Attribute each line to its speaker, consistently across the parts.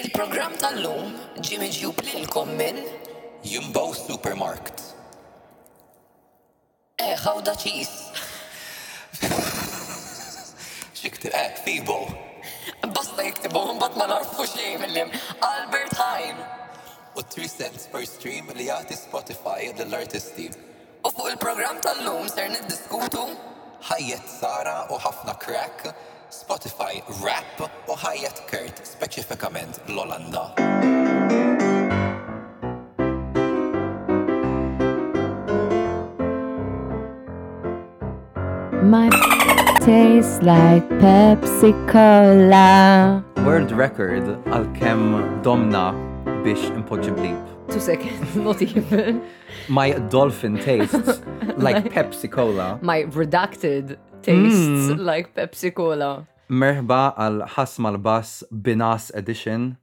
Speaker 1: Il-program tal-lum ġim iġjub lilkom minn
Speaker 2: Jumbo Supermarket.
Speaker 1: eħaw daċis.
Speaker 2: Xiktir ek fibo.
Speaker 1: Basta jiktibu, bat ma narfu xej mill-lim. Albert Heijn.
Speaker 2: U 3 cents per stream li jati Spotify l-artisti.
Speaker 1: U fuq il-program tal-lum ser niddiskutu
Speaker 2: Ħajjet Sara u ħafna crack, Spotify rap u ħajjet Kurt specifikament l-Olanda.
Speaker 3: My tastes like Pepsi Cola.
Speaker 4: World record għal kem domna biex impoġġi blib.
Speaker 3: Two seconds, not even.
Speaker 4: My dolphin tastes like Pepsi Cola.
Speaker 3: My redacted tastes
Speaker 4: Hmm.
Speaker 3: like Pepsi Cola.
Speaker 4: Merħba għal ħasma l-bass Binas Edition.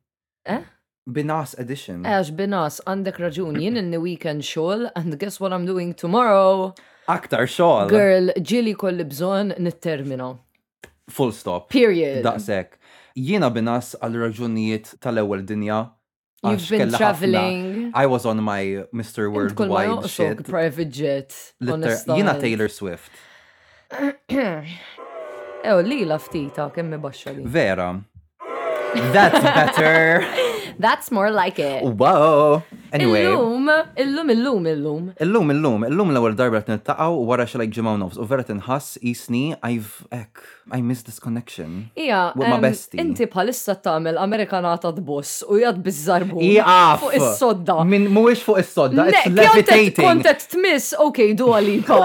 Speaker 3: Eh?
Speaker 4: Binas Edition.
Speaker 3: Għax binas, għandek raġun, jien in weekend xol, and guess what I'm doing tomorrow?
Speaker 4: Aktar xoħal.
Speaker 3: Girl, ġili kolli bżon nittermina.
Speaker 4: Full stop.
Speaker 3: Period.
Speaker 4: Daqsek. Jiena binas għal raġunijiet tal-ewel dinja. għax
Speaker 3: You've been
Speaker 4: kella ħafna-
Speaker 3: traveling.
Speaker 4: I was on my Mr.
Speaker 3: Int kull ma
Speaker 4: Worldwide
Speaker 3: joqsok
Speaker 4: shit.
Speaker 3: private jet.
Speaker 4: Liter-
Speaker 3: honestament.
Speaker 4: Jiena Taylor Swift.
Speaker 3: Ew, li laftita, kemmi baxxa li.
Speaker 4: Vera. That's better.
Speaker 3: That's more like it.
Speaker 4: Wow. Anyway.
Speaker 3: Illum, illum, illum, illum.
Speaker 4: Illum, illum, illum l-ewwel darba qed nittaqgħu wara xi like ġimgħu nofs u vera tinħass isni I've ek I miss this connection.
Speaker 3: Ija,
Speaker 4: With my
Speaker 3: em,
Speaker 4: bestie.
Speaker 3: inti bħalissa tagħmel Amerikanata tboss u jad bizzarbu.
Speaker 4: Iqaf!
Speaker 3: Fuq is-sodda.
Speaker 4: Min mhuwiex fuq is-sodda,
Speaker 3: Ne,
Speaker 4: it's
Speaker 3: kjontet-
Speaker 4: levitating.
Speaker 3: Kontet tmiss, ok, du għalika.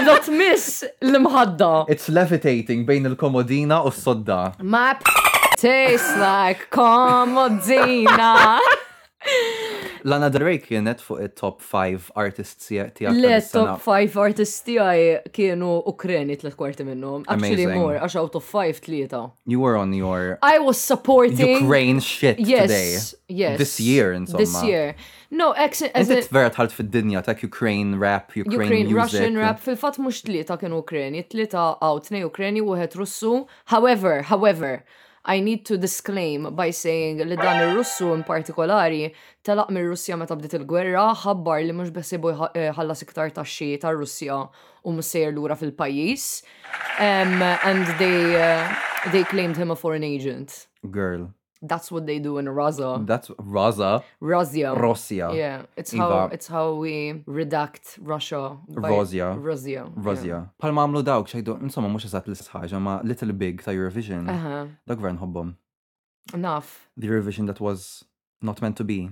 Speaker 3: Edha tmiss l-mħadda.
Speaker 4: It's levitating bejn il-komodina u s-sodda.
Speaker 3: Map tastes like komodina.
Speaker 4: Lana Del Rey kienet fuq it-top 5 artists tiegħek
Speaker 3: Le
Speaker 4: tas-sena.
Speaker 3: top 5 artists tiegħi kienu Ukreni tlet kwarti minnhom. Actually
Speaker 4: Amazing.
Speaker 3: more, għax out of 5 tlieta.
Speaker 4: You were on your
Speaker 3: I was supporting
Speaker 4: Ukraine shit today.
Speaker 3: Yes, yes.
Speaker 4: This year
Speaker 3: This
Speaker 4: insomma.
Speaker 3: year. No, ex, as
Speaker 4: Inti
Speaker 3: in,
Speaker 4: vera tħalt fid-dinja tak Ukraine rap, Ukraine,
Speaker 3: Ukraine,
Speaker 4: music.
Speaker 3: Russian rap, fil-fat mux tlieta kienu Ukraini, tlieta għaw tnej Ukraini u għet Russu. However, however, I need to disclaim by saying li dan il-Russu in partikolari telaq mir russja meta bdiet il-gwerra ħabbar li mhux besibu eh, ħallas iktar taxxi tar-Russja u musejjer lura fil-pajjiż. Um, and they uh, they claimed him a foreign agent.
Speaker 4: Girl.
Speaker 3: That's what they do in Raza.
Speaker 4: That's Raza.
Speaker 3: Razia.
Speaker 4: Rossja.
Speaker 3: Yeah, it's how
Speaker 4: Iva.
Speaker 3: it's how we redact Russia. by-
Speaker 4: Rosia.
Speaker 3: Rosia.
Speaker 4: Rozja. Pal ma għamlu dawk xejdu, insomma, mux eżat l-istess ħaġa ma Little Big ta' Eurovision.
Speaker 3: yeah. Aha,
Speaker 4: Dak gvern hobbom.
Speaker 3: naf.
Speaker 4: The Eurovision that was not meant to be.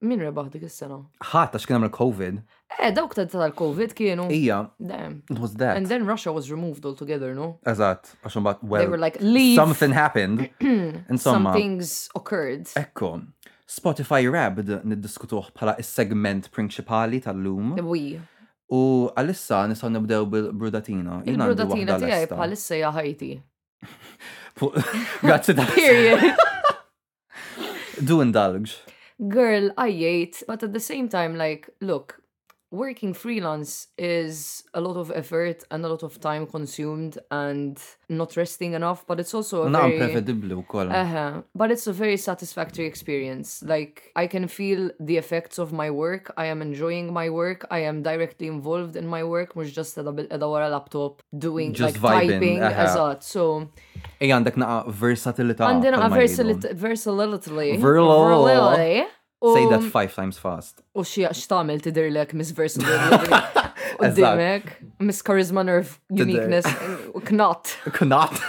Speaker 3: Min rebaħ dik is-sena?
Speaker 4: ħat, għax kien għamil COVID.
Speaker 3: Eh, dawk ta' tal-Covid kienu.
Speaker 4: Ija,
Speaker 3: Damn.
Speaker 4: it was
Speaker 3: And
Speaker 4: that.
Speaker 3: then Russia was removed altogether, no?
Speaker 4: Eżat, għax bat,
Speaker 3: They were
Speaker 4: well,
Speaker 3: like, leave.
Speaker 4: something happened.
Speaker 3: Some
Speaker 4: Insomma, Eh.
Speaker 3: things occurred.
Speaker 4: ekko, Spotify Rabbed niddiskutuh bħala is-segment prinċipali tal-lum.
Speaker 3: We.
Speaker 4: U għalissa nisaw nibdew bil-brudatina. Jien għandi
Speaker 3: Il-brudatina
Speaker 4: waħda
Speaker 3: tiegħi
Speaker 4: lesta.
Speaker 3: bħalissa hija Ħajti.
Speaker 4: Fu- Grazzi tal.
Speaker 3: Period.
Speaker 4: Du indulge.
Speaker 3: Girl, I hate, but at the same time, like, look, working freelance is a lot of effort and a lot of time consumed and not resting enough, but it's also a
Speaker 4: Naqam
Speaker 3: very...
Speaker 4: prevedibli u koll.
Speaker 3: Uh-huh. But it's a very satisfactory experience. Like I can feel the effects of my work. I am enjoying my work. I am directly involved in my work, which just at a bit at our laptop doing
Speaker 4: Just vibing,
Speaker 3: like
Speaker 4: Uh-huh.
Speaker 3: typing
Speaker 4: aha.
Speaker 3: as a so
Speaker 4: Ej għandek naqa versatilità.
Speaker 3: and then a
Speaker 4: palma jgħidu.
Speaker 3: versali- versatility
Speaker 4: Verlo.
Speaker 3: versatility
Speaker 4: Say
Speaker 3: um, oh,
Speaker 4: that five times fast.
Speaker 3: U xie xtamil tidirlek Miss Versatility. U
Speaker 4: Eżatt.
Speaker 3: Oh, dimek, Miss Charisma Nerve
Speaker 4: Tidir.
Speaker 3: Uniqueness, u knot.
Speaker 4: Knat.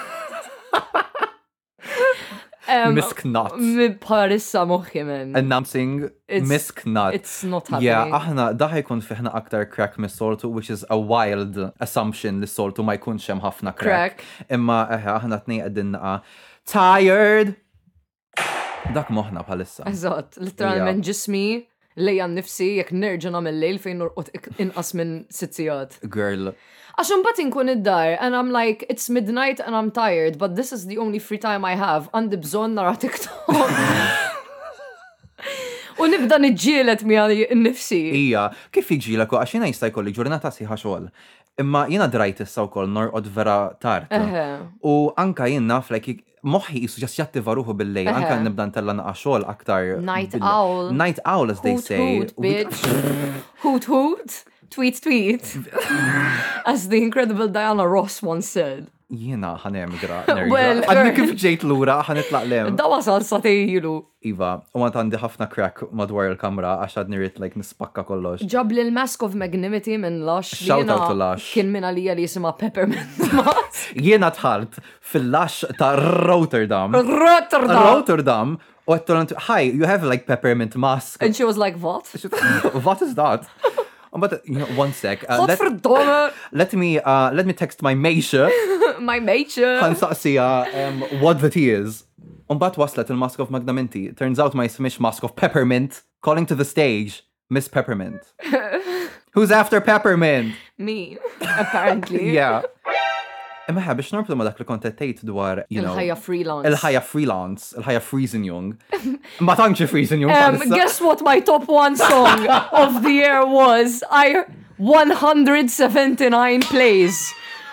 Speaker 3: Um,
Speaker 4: Miss Knat.
Speaker 3: Mi parissa moħi men.
Speaker 4: Announcing
Speaker 3: It's-
Speaker 4: Miss Knat.
Speaker 3: It's not
Speaker 4: Yeah,
Speaker 3: happening.
Speaker 4: aħna daħ jkun fiħna aktar crack mis soltu, which is a wild assumption li soltu ma jkunx hemm ħafna crack. Imma eħe, aħna tnej qegħdin naqa آه، tired. Dak moħna bħalissa.
Speaker 3: Eżat, literalment ġismi lejja nifsi jek nerġa nagħmel lejl fejn norqod ik- inqas minn sitzijat.
Speaker 4: Girl,
Speaker 3: Għax imbagħad inkun id-dar and I'm like it's midnight and I'm tired, but this is the only free time I have. Għandi bżonn nara TikTok. U nibda niġġielet mi għal nifsi.
Speaker 4: ija, kif iġilek u għaxina jista' jkolli ġurnata siħa xogħol. Imma jina drajt issa wkoll norqod vera tard.
Speaker 3: Eħe.
Speaker 4: U anka jien naf إيه like moħħi jisu ġas jattiva ruħu bil-lejl, anka
Speaker 3: Eħe.
Speaker 4: nibda ntella naqa' xogħol aktar.
Speaker 3: Night
Speaker 4: bil-
Speaker 3: owl.
Speaker 4: Night owl as they
Speaker 3: Hoot
Speaker 4: say.
Speaker 3: hoot,
Speaker 4: U bi-
Speaker 3: bitch. hoot hoot. Tweet tweet. As the incredible Diana Ross once said.
Speaker 4: Jiena ħanemigra.
Speaker 3: Well,
Speaker 4: nerġa'. Għadni
Speaker 3: er-
Speaker 4: kif ġejt lura ħanitlaq lem.
Speaker 3: Dawa salsa tejlu.
Speaker 4: Iva, u għant għandi ħafna crack madwar il-kamra għax għadni rrit like nispakka kollox.
Speaker 3: Ġab li l-Mask of Magnanimity minn Lush. li
Speaker 4: Shout
Speaker 3: jena
Speaker 4: out to Lush.
Speaker 3: Kien minn għalija li jisima Peppermint Moss.
Speaker 4: Jiena tħalt fil-lax ta' Rotterdam.
Speaker 3: Rotterdam.
Speaker 4: Rotterdam u għattolant, hi, you have like peppermint mask.
Speaker 3: And she was like, what?
Speaker 4: What is that? Um, But you know, one sec. Uh,
Speaker 3: Hot
Speaker 4: let,
Speaker 3: for dollar,
Speaker 4: let me uh, let me text my Meisha
Speaker 3: my major.
Speaker 4: Hansasija um, what that is. Umbat waslet il-mask of Magnaminti. Turns out my smish mask of peppermint calling to the stage Miss Peppermint. Who's after Peppermint?
Speaker 3: Me, apparently.
Speaker 4: Yeah. Imma ħa biex norbtu ma dak li kontettejt dwar, you know,
Speaker 3: Il-ħajja freelance.
Speaker 4: il-ħajja freelance, il-ħajja freezing young. Ma tantx freezing young.
Speaker 3: Um,
Speaker 4: palissa.
Speaker 3: guess what my top one song of the year was? I 179 plays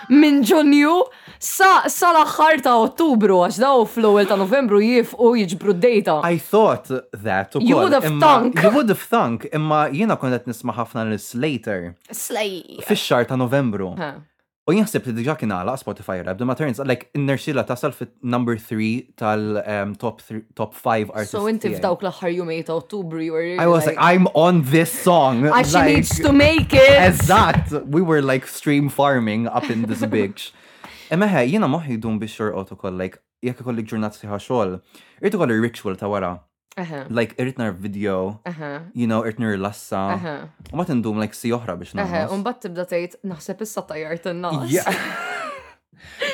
Speaker 3: minn Ġunju sa, sa l-axħar ta' Ottubru għax daw fl-ewwel ta' Novembru jifqu jiġbru d-data.
Speaker 4: I thought that ukoll,
Speaker 3: You would have
Speaker 4: imma-
Speaker 3: thunk.
Speaker 4: You would have thunk, imma jiena kont qed nisma' ħafna l Slater
Speaker 3: Slay.
Speaker 4: fix-xar ta' Novembru.
Speaker 3: Huh.
Speaker 4: U jaħseb li diġà kien għala Spotify rap, ma turns like n-nerxila tasal fit number 3 tal um, top thr- top 5 artists.
Speaker 3: So inti
Speaker 4: tiegħi.
Speaker 3: f'dawk l-axħar jumej ta' Ottubru you were
Speaker 4: I was like, I'm on this song.
Speaker 3: Ah, she needs to make it.
Speaker 4: Eżatt, we were like stream farming up in this bitch. Imma ħe, jiena moħħi dum biex xorqot ukoll, like, jekk ikollek ġurnat sħiħa xogħol, irid ukoll ritual ta' wara.
Speaker 3: Aha,
Speaker 4: Like, irid nar video,
Speaker 3: aha,
Speaker 4: you know, irid nirlassa.
Speaker 3: aha.
Speaker 4: U ma tindum like si oħra biex
Speaker 3: Aha,
Speaker 4: nagħmel.
Speaker 3: unbat tibda tgħid naħseb issa tajjart in-nas.
Speaker 4: Yeah.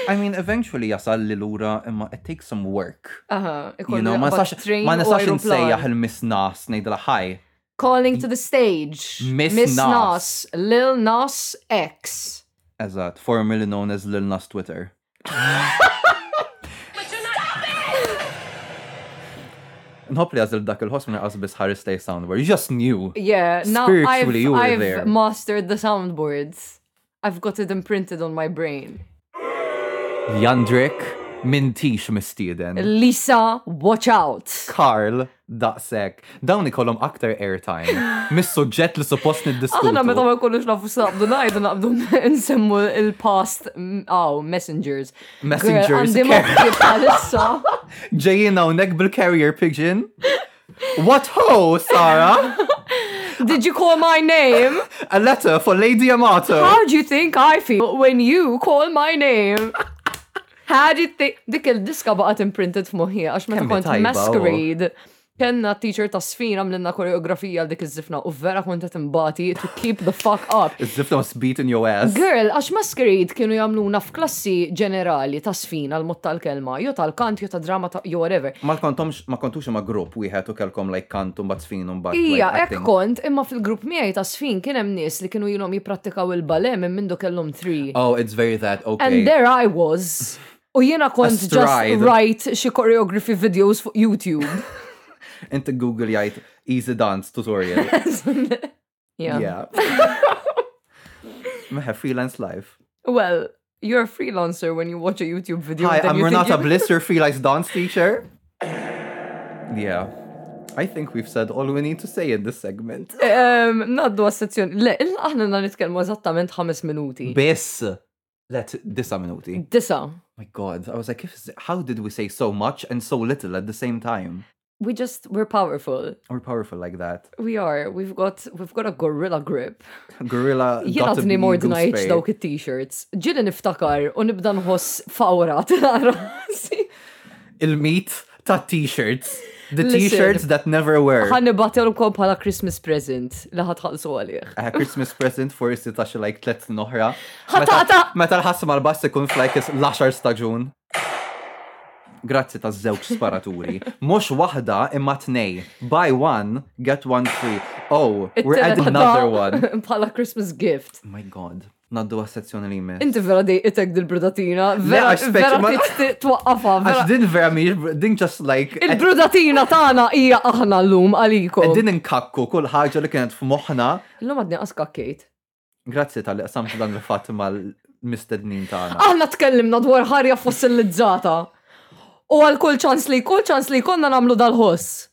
Speaker 4: I mean, eventually jasal li lura imma it takes some work.
Speaker 3: Aha,
Speaker 4: You
Speaker 3: ikolli
Speaker 4: know, ma
Speaker 3: naqbad
Speaker 4: nistax
Speaker 3: train
Speaker 4: ma
Speaker 3: u
Speaker 4: nistax
Speaker 3: aeroplan.
Speaker 4: insejjaħ il-miss nas ngħidla ħaj.
Speaker 3: Calling to the stage.
Speaker 4: Miss
Speaker 3: Nas. Lil Nas X.
Speaker 4: Eżatt, formerly known as Lil Nas Twitter. Nħobb li għazil dak il-ħos minn għazbis Harris Day Soundboard. You just knew.
Speaker 3: Yeah, now I've,
Speaker 4: Spiritually, you were
Speaker 3: I've
Speaker 4: there.
Speaker 3: mastered the soundboards. I've got it imprinted on my brain.
Speaker 4: Jandrik mintix mistieden.
Speaker 3: Lisa, watch out.
Speaker 4: Karl daqsek. Dawn ikollhom aktar airtime. Mis-suġġett li suppost
Speaker 3: Aħna meta
Speaker 4: niddiskutu.
Speaker 3: ma kollux nafu s-nabdu najdu naqbdu nsemmu il-past, mm, aw, messengers. Girl,
Speaker 4: Messengers,
Speaker 3: Għandi
Speaker 4: care.
Speaker 3: maqbi bħalissa.
Speaker 4: Ġejjin hawnhekk bil-carrier pigeon. What ho, Sarah?
Speaker 3: Did you call my name?
Speaker 4: A letter for Lady Amato.
Speaker 3: How do you think I feel when you call my name? How do you think? Dik il-diska baqat imprinted f'moħi, għax meta
Speaker 4: Kemm hi
Speaker 3: kont
Speaker 4: tajba, oh.
Speaker 3: masquerade. Kenna teacher ta' sfin għamlinna koreografija għal dik iż-zifna u vera kont qed imbagħti to keep the fuck up.
Speaker 4: Iż-zifta was beating your ass.
Speaker 3: Girl, għax masquerade kienu jamluna f'klassi ġenerali ta' sfin għal mod tal-kelma, jo tal-kant, jo tal-drama, ta' jo whatever.
Speaker 4: Ma kontomx, ma kontux ma grupp wieħed u kelkom like kantum bat sfin un bat.
Speaker 3: Ija,
Speaker 4: like,
Speaker 3: ek
Speaker 4: acting.
Speaker 3: kont, imma fil-grupp miegħi ta' sfin kien hemm nies li kienu jilhom jipprattikaw il-balem minn mindu kellhom three.
Speaker 4: Oh, it's very that, okay.
Speaker 3: And there I was. U jiena kont just
Speaker 4: Astride.
Speaker 3: write xi choreography videos fuq YouTube.
Speaker 4: Inti Google jgħid easy dance tutorial.
Speaker 3: yeah.
Speaker 4: yeah. Meħe freelance life.
Speaker 3: Well, you're a freelancer when you watch a YouTube video.
Speaker 4: Hi,
Speaker 3: and then
Speaker 4: I'm
Speaker 3: you think
Speaker 4: Renata
Speaker 3: you-
Speaker 4: Bliss, your freelance dance teacher. Yeah. I think we've said all we need to say in this segment.
Speaker 3: Um, Naddu għas-sezzjoni. Le, il- aħna na nitkellmu eżattament ħames minuti.
Speaker 4: Biss. Let disa minuti.
Speaker 3: Disa.
Speaker 4: Oh My God, I was like, if, how did we say so much and so little at the same time?
Speaker 3: We just we're powerful.
Speaker 4: We're powerful like that.
Speaker 3: We are. We've got we've got a gorilla grip.
Speaker 4: Gorilla.
Speaker 3: Jien
Speaker 4: dotted
Speaker 3: għadni
Speaker 4: bee
Speaker 3: mor
Speaker 4: goose
Speaker 3: dnajċ
Speaker 4: spray.
Speaker 3: dawk it-t-shirts. Ġili niftakar u nibda nħoss fawra tal-rasi.
Speaker 4: il-meat ta' t-shirts. The
Speaker 3: Listen.
Speaker 4: t-shirts that never wear.
Speaker 3: Ħannibatilkom bħala Christmas present li ħatħallsu għalih.
Speaker 4: A Christmas present for is ta' xi like tlet snin oħra.
Speaker 3: Ħatata!
Speaker 4: Meta l-ħassam għal-bass ikun flajkis l-10 ta' ġun. Grazzi ta' żewġ sparaturi. Mhux waħda imma tnej. Buy one, get one free. Oh, we're
Speaker 3: It-tele
Speaker 4: at
Speaker 3: ta'
Speaker 4: another
Speaker 3: da-
Speaker 4: one.
Speaker 3: Bħala Christmas gift.
Speaker 4: My God. Naddu għas-sezzjoni li jmiss.
Speaker 3: Inti vera dejqitek dil-brudatina. Vera,
Speaker 4: għax speċi
Speaker 3: vera
Speaker 4: ma-
Speaker 3: tit- tit- twaqqafa. vera.
Speaker 4: Għax din vera miex, din just like.
Speaker 3: Il-brudatina tagħna hija aħna llum għalikom.
Speaker 4: Din nkakku kull ħaġa li kienet f'moħħna
Speaker 3: Llum għadni qaskak Kate.
Speaker 4: Grazzi tal-li qsamt dan il-fatt mal-mistednin tagħna.
Speaker 3: Aħna tkellimna dwar ħarja fossilizzata. U għal kull ċans li kull ċans li konna namlu dal-ħoss.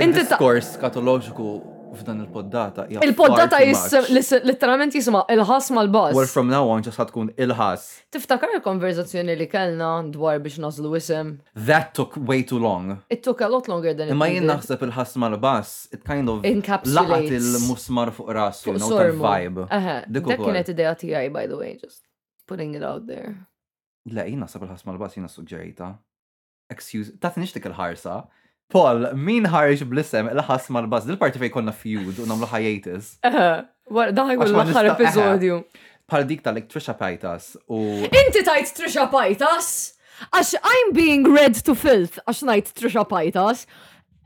Speaker 3: Inti ta'
Speaker 4: Diskors katoloġiku f'dan il-poddata. hija
Speaker 3: il-poddata
Speaker 4: far too
Speaker 3: jis
Speaker 4: much.
Speaker 3: lis- letteralment jisma il-ħas
Speaker 4: Well,
Speaker 3: mal-bass.
Speaker 4: from now on ġas tkun il-ħas.
Speaker 3: Tiftakar il-konverzazzjoni li kellna dwar biex nażlu isem.
Speaker 4: That took way too long.
Speaker 3: It took a lot longer than it
Speaker 4: Imma jien
Speaker 3: needed.
Speaker 4: naħseb il-ħass mal-bass, it kind of
Speaker 3: Encapsulates.
Speaker 4: laqat il-musmar fuq rasu,
Speaker 3: Fuq
Speaker 4: you know,
Speaker 3: sormu.
Speaker 4: tal-vibe.
Speaker 3: Aha,
Speaker 4: Dik
Speaker 3: Dak
Speaker 4: ukoll.
Speaker 3: kienet idea tiegħi by the way, just putting it out there.
Speaker 4: Le, jien naħseb il-ħass mal-bass jina suġġerita. Excuse, ta' nixtik il-ħarsa. Paul, min ħarġ blisem il-ħass mal-bass? Dil-parti fej konna feud u namlu ħajatis.
Speaker 3: Aha, wara daħi kull
Speaker 4: Għax ma
Speaker 3: l-aħħar
Speaker 4: nista- aha.
Speaker 3: episodju.
Speaker 4: Pal dik tal-Electricia Pajtas u
Speaker 3: Inti tajt Trisha Pajtas? Għax I'm being read to filth għax najt Trisha Pajtas.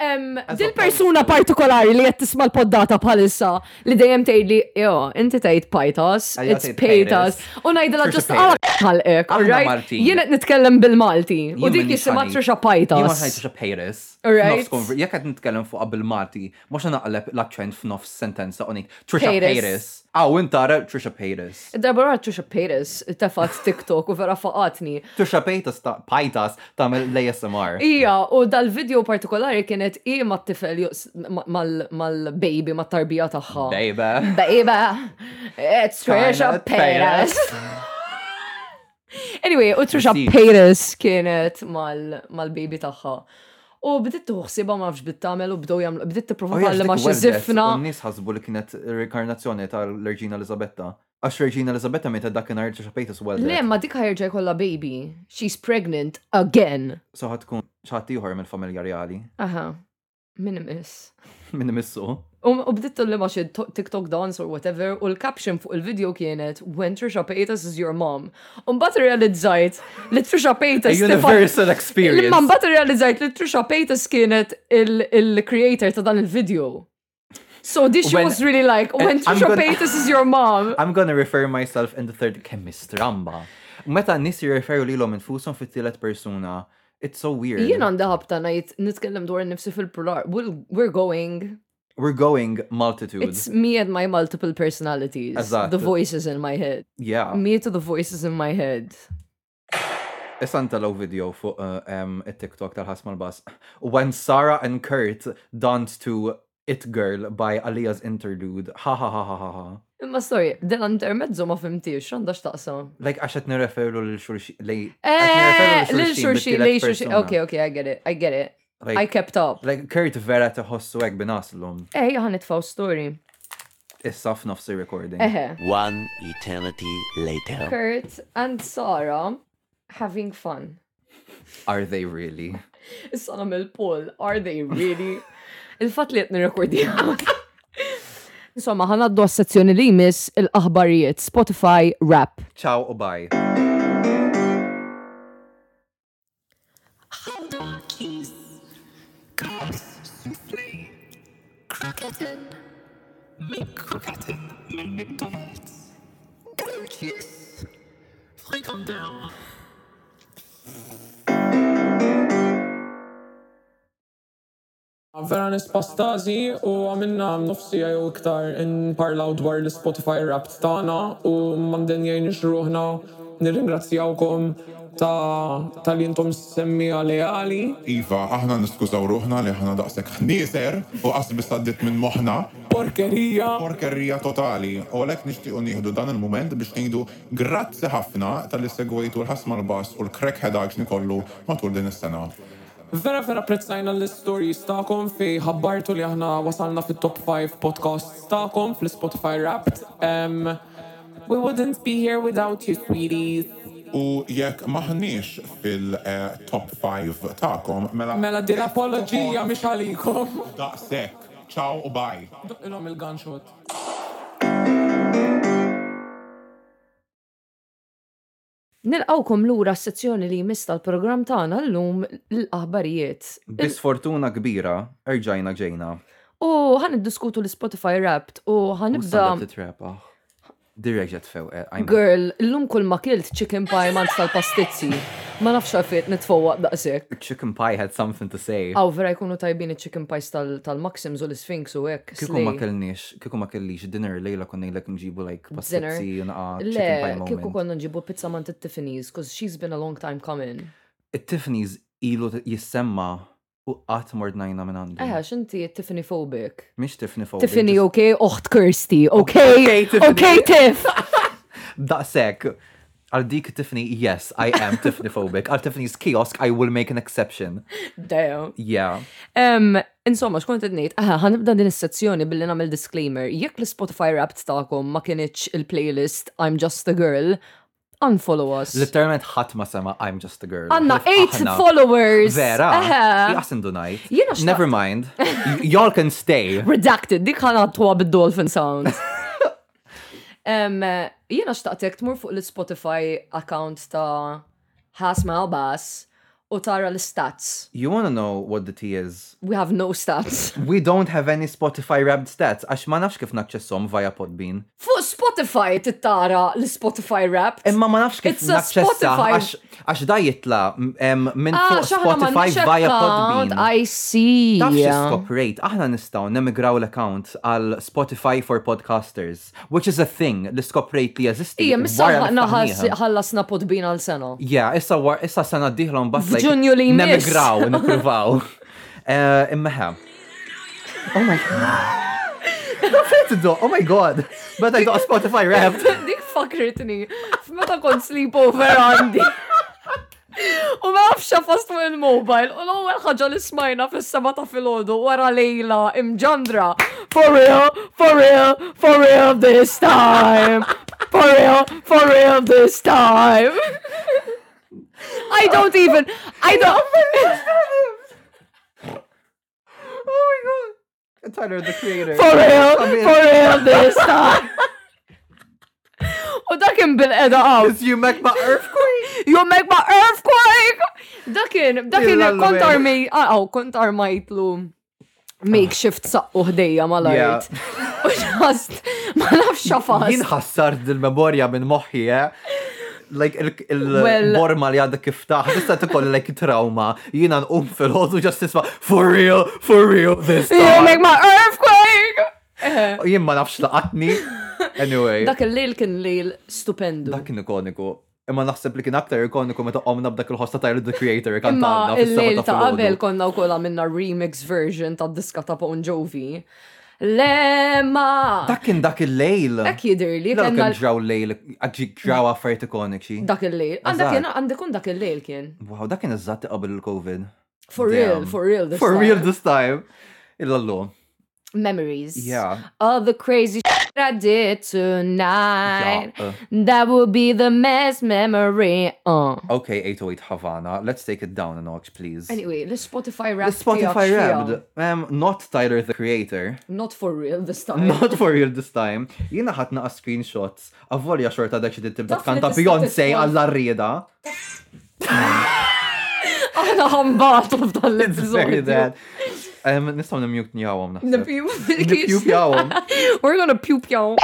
Speaker 3: Em, Dil persuna partikolari li jett tisma l-poddata palissa li dejjem tgħid li jo, inti tgħid Pajtas,
Speaker 4: Għalija
Speaker 3: it's
Speaker 4: tgħid
Speaker 3: Pajtas.
Speaker 4: Pajtas.
Speaker 3: U ngħidilha
Speaker 4: Trisha
Speaker 3: ġust
Speaker 4: Pajtas.
Speaker 3: għalqek,
Speaker 4: Aħna
Speaker 3: alright?
Speaker 4: Maltin.
Speaker 3: Jien qed nitkellem bil-Malti u
Speaker 4: Jien
Speaker 3: dik
Speaker 4: minni
Speaker 3: jisimha
Speaker 4: xani.
Speaker 3: Trisha
Speaker 4: Jien ma
Speaker 3: Pajtas.
Speaker 4: ħajt Trisha Pajtas.
Speaker 3: Alright.
Speaker 4: F'nofs konver- Jekk qed nitkellem fuq bil-Malti, mhux se naqleb l-accent f'nofs sentenza u ngħid Trisha
Speaker 3: Paytas.
Speaker 4: Pajtas. Aw, intara Trisha Pajtas.
Speaker 3: Id-darba għat Trisha Pajtas tefat TikTok u vera faqatni.
Speaker 4: Trisha Paytas ta' Pajtas tagħmel l-ASMR.
Speaker 3: Ija, u dal-video partikolari kienet i ma t-tifel juqs- ma- mal- mal-baby, ma tarbija taħħa.
Speaker 4: Baby.
Speaker 3: Bejba, it's Trisha
Speaker 4: Trisha
Speaker 3: Paytas.
Speaker 4: Paytas.
Speaker 3: anyway, u Trisha
Speaker 4: Receipt.
Speaker 3: Paytas kienet mal- mal-baby taħħa. U bditt tuħsiba ma nafx bditt tagħmel u bdew jagħmlu bditt
Speaker 4: Oh,
Speaker 3: tipprova tgħallem ma xi zifna.
Speaker 4: Nis ħasbu li kienet rekarnazzjoni tal-Reġina Elizabetta. Għax Reġina Elizabetta meta dakinhar Trisha Paytas
Speaker 3: Le,
Speaker 4: weldet.
Speaker 3: ma dik ħajerġa' jkollha baby. She's pregnant again.
Speaker 4: So ħatkun ċaħat ieħor mill-familja reali.
Speaker 3: Aha, min miss.
Speaker 4: Minn missu.
Speaker 3: U u bditt tulli ma xi to- TikTok dance or whatever u l-caption fuq il-video kienet When Trisha Paytas is your mom. U mbagħad realizzajt li Trisha
Speaker 4: A
Speaker 3: Paytas tifat-
Speaker 4: universal
Speaker 3: Imma
Speaker 4: experience.
Speaker 3: mbagħad irrealizzajt li Trisha Paytas kienet il- il-creator ta' dan il-video. So this she
Speaker 4: When-
Speaker 3: was really like, when
Speaker 4: and I'm
Speaker 3: Trisha
Speaker 4: gonna-
Speaker 3: Paytas is your mom.
Speaker 4: I'm gonna refer myself in the third chemist ramba. Meta n-nis jirreferu li l-om infusom fit-tielet persuna, it's so weird.
Speaker 3: Jien għandha ħabta ngħid nitkellem dwar nifsi fil-polar. We'll- We're going.
Speaker 4: We're going multitude.
Speaker 3: It's me and my multiple personalities.
Speaker 4: Eżatt. Ah.
Speaker 3: The voices in my head.
Speaker 4: Yeah.
Speaker 3: Me to the voices in my head.
Speaker 4: Isan talaw video fuq uh, um, it-TikTok tal-ħasma l-bas. When Sarah and Kurt danced to It Girl by Alia's interlude. Ha ha ha ha ha ha.
Speaker 3: Imma sorry, dan intermezzo ma fimtiex, x'għandha x'taqsam.
Speaker 4: Like għax qed nirreferu lil xulxi lej.
Speaker 3: Eh, lil xurxi, lil xurxi. Okay, okay, I get it, I get it. I
Speaker 4: Like,
Speaker 3: kept up.
Speaker 4: like Kurt vera teħossu hekk binaslhom
Speaker 3: Eh, ħan nitfaw story.
Speaker 4: issa f'nofsi recording.
Speaker 3: Eħe.
Speaker 5: One eternity later.
Speaker 3: Kurt and Sarah having fun.
Speaker 4: Are they really?
Speaker 3: Is-sana mill-pull, are they really? Il-fat li jtni rekordi. Insomma, ħanaddu għas-sezzjoni li jmiss il-aħbarijiet Spotify Rap.
Speaker 4: Ciao u bye.
Speaker 1: Donkeys, crabs, soufflé, croquettes, big croquettes, big McDonald's, gorgeous, frikandel.
Speaker 6: Vera nispastazi u għamilna nofsi għaj u iktar n-parlaw dwar l-Spotify rap tana u mandin jaj nixruħna nir-ingrazzjawkom ta' tal-jintom semmi għali
Speaker 7: Iva, aħna niskużaw ruħna li aħna daqsek ħnieser u qasbi saddit minn moħna.
Speaker 6: Porkerija!
Speaker 7: Porkerija totali. U għalek nishtiqu nieħdu dan il-moment biex ngħidu grazzi ħafna tal-li segwejtu l-ħasmar bass u l-crackhead action kollu matul din is-sena.
Speaker 6: Vera vera prezzajna l-stories ta'kom fi ħabbartu li aħna wasalna fit top 5 podcast ta'kom fl-Spotify Wrapped. Um, we wouldn't be here without you, sweeties.
Speaker 7: U jekk maħniex fil-top 5 ta'kom, mela.
Speaker 6: Mela din apologija mish għalikom.
Speaker 7: Daqsek. Ciao u bye.
Speaker 6: Ilhom il-gunshot.
Speaker 3: Nilqawkom lura s-sezzjoni li jmiss tal-program tagħna llum l-aħbarijiet.
Speaker 4: Bisfortuna kbira, erġajna ġejna.
Speaker 3: U ħan diskutu l-Spotify Wrapped u ħanibda.
Speaker 4: Nibda. Titrapa. Direkt ġet few. Oh, eh, I'm-
Speaker 3: Girl, l-lum kull ma kilt chicken pie mant tal-pastizzi. Ma nafx għafiet nitfowaq daqsek.
Speaker 4: Chicken pie had something to say.
Speaker 3: Aw, vera jkunu tajbin il-chicken pies tal- tal-Maxims u l-Sphinx u hekk.
Speaker 4: Kiku ma
Speaker 3: slay.
Speaker 4: kellniex, kiku ma kellix dinner lejla konna jilek nġibu like
Speaker 3: Dinner.
Speaker 4: passetti naqa ah, chicken pie
Speaker 3: Le, kiku
Speaker 4: moment.
Speaker 3: konna nġibu pizza man t-Tiffany's, cause she's been a long time coming.
Speaker 4: Eh, It-Tiffany's ilu t- jissemma u qatt mort najna minn għandu.
Speaker 3: Eħe, xinti Tiffany phobic.
Speaker 4: Mhix Tiffany fuq.
Speaker 3: Tiffany, okay? Oħt Kirsty, okay?
Speaker 4: Okay, Tiffany.
Speaker 3: Okay, Tiff!
Speaker 4: Daqsek. Għal dik Tiffany, yes, I am Tiffany phobic. Għal Tiffany's kiosk, I will make an exception.
Speaker 3: Damn.
Speaker 4: Yeah.
Speaker 3: Um, insomma, xkont id-nejt, aha, ħanibda din is-sezzjoni billi namel disclaimer. Jekk l-Spotify rapt ta'kom ma kienieċ il-playlist I'm Just a Girl, unfollow us.
Speaker 4: Literalment ħadd ma sema I'm just a girl.
Speaker 3: Għanna
Speaker 4: Kif
Speaker 3: 8
Speaker 4: aħna.
Speaker 3: followers!
Speaker 4: Vera.
Speaker 3: Aha.
Speaker 4: Jasin dunajt.
Speaker 3: Jiena xtaqt-
Speaker 4: Never mind. Y- Y'all can stay.
Speaker 3: Redacted, dik ħana għattuwa bid-Dolphin Sound. um, jena xtaqtek tmur fuq l-Spotify account ta' Hasma Abbas u tara l-stats.
Speaker 4: You wanna know what the tea is?
Speaker 3: We have no stats.
Speaker 4: We don't have any Spotify wrapped stats, għax ma nafx kif naċċessom via Podbean.
Speaker 3: Fuq Spotify tittara l-Spotify rap.
Speaker 4: Imma ma nafx kif
Speaker 3: It's a
Speaker 4: naċċessa
Speaker 3: Spotify-
Speaker 4: għax- għax da jitla em, minn
Speaker 3: Ah,
Speaker 4: fuq
Speaker 3: xaħna
Speaker 4: Spotify
Speaker 3: m'għandniex
Speaker 4: via
Speaker 3: account,
Speaker 4: Podbean.
Speaker 3: I see.
Speaker 4: Tafx stop rate, aħna nistaw nemigraw l-account għal Spotify for podcasters, which is a thing, l-stop rate li jazisti.
Speaker 3: Ija, missa ħana ħallasna podbin għal sena.
Speaker 4: Yeah, issa war, issa sena diħlom bat like,
Speaker 3: F'Ġunju li jmiss.
Speaker 4: nemigraw, nipruvaw. Eh, Imma ħa. Oh my god. Fit do, oh my god. But I got Spotify wrapped.
Speaker 3: Dik fakritni, f'meta kont sleepover għandi. U ma nafx fost fuq il-mobile, u l-ewwel ħaġa li smajna fis-seba ta' filgħodu wara lejla imġandra. For real, for real, for real this time. For real, for real this time. I don't even, I don't.
Speaker 4: Oh my god. Tyler, the creator.
Speaker 3: For real,
Speaker 4: Come in.
Speaker 3: for real this time. U dakin bil-qeda għaw.
Speaker 4: It's you make my earthquake.
Speaker 3: You make my earthquake! Dakin, dakin
Speaker 4: Jilla
Speaker 3: kont
Speaker 4: l-wen.
Speaker 3: armej, għaw, kont armajtlu makeshift saqqu ħdejja mal-art. U ġast, ma nafx
Speaker 4: Jien
Speaker 3: xafas.
Speaker 4: ħassart il-memorja minn moħħi, eh? Like
Speaker 3: Well-
Speaker 4: il-borma li għadda kif taħ, tista tkoll like trauma, jiena nqum fil-ħodu just tisma' for real, for real this
Speaker 3: You make
Speaker 4: time.
Speaker 3: my earthquake!
Speaker 4: Jien ma nafx laqatni. Anyway,
Speaker 3: Dak il-lejl kien lejl stupendu.
Speaker 4: dak kien ikoniku. Imma naħseb li kien aktar ikoniku meta qomna b'dak il-ħosta Tyler the Creator
Speaker 3: Imma
Speaker 4: kantanna
Speaker 3: il-lejl
Speaker 4: fis-seba
Speaker 3: ta' qabel
Speaker 4: ta'
Speaker 3: konna u kolla minna remix version ta' diska ta' Bon Jovi. Lemma!
Speaker 4: Dak kien dak il-lejl.
Speaker 3: Dak jidir li
Speaker 4: Dak
Speaker 3: kena
Speaker 4: kien ġraw lejl, għagġi
Speaker 3: Mm.
Speaker 4: ġraw affarijiet ikoniċi.
Speaker 3: dak il-lejl. Għandak
Speaker 4: Eżatt.
Speaker 3: kien, għandak kun dak il-lejl kien.
Speaker 4: Wow, dak kien eżatt qabel il-COVID.
Speaker 3: For real,
Speaker 4: Damn.
Speaker 3: for real. this
Speaker 4: For
Speaker 3: time.
Speaker 4: real this time. Illa-llu.
Speaker 3: Memories.
Speaker 4: Yeah.
Speaker 3: All the crazy shit I did tonight.
Speaker 4: Yeah, uh.
Speaker 3: That will be the best memory. Uh.
Speaker 4: Okay, 808 Havana. Let's take it down a notch, please.
Speaker 3: Anyway, the Spotify rap.
Speaker 4: the Spotify
Speaker 3: tiegħek x'hija?
Speaker 4: Wrapped, um, not Tyler the Creator,
Speaker 3: Not for real this time.
Speaker 4: not for real this time. Jina ħatna a screenshots. Avvolja xorta dak xidit tibda
Speaker 3: Taf li
Speaker 4: tkanta
Speaker 3: tista'
Speaker 4: Beyoncé
Speaker 3: tidħol.
Speaker 4: għalla rrieda.
Speaker 3: Aħna ħambatu f'dan
Speaker 4: It's very
Speaker 3: l-episodju.
Speaker 4: bad. Um, Nistaw nimjut njawom naħseb.
Speaker 3: Nipju
Speaker 4: Nipju pjawom.
Speaker 3: We're gonna pew pjaw.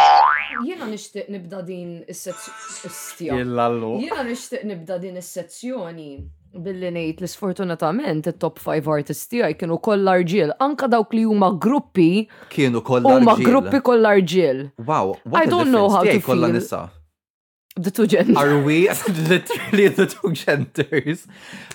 Speaker 3: Jiena nixtieq nibda din is-sezzjoni.
Speaker 4: Jillallu.
Speaker 3: Jiena nixtieq nibda din is-sezzjoni billi ngħid li sfortunatament it-top 5 artists tiegħi kienu kollha arġiel, anka dawk li huma gruppi
Speaker 4: Kienu kolla
Speaker 3: huma
Speaker 4: rġiel.
Speaker 3: gruppi kollha arġiel.
Speaker 4: Wow, what
Speaker 3: I
Speaker 4: a
Speaker 3: don't know
Speaker 4: difference.
Speaker 3: how to
Speaker 4: Tiegħi kolla
Speaker 3: feel.
Speaker 4: nisa.
Speaker 3: The two genders.
Speaker 4: Are we literally the two genders?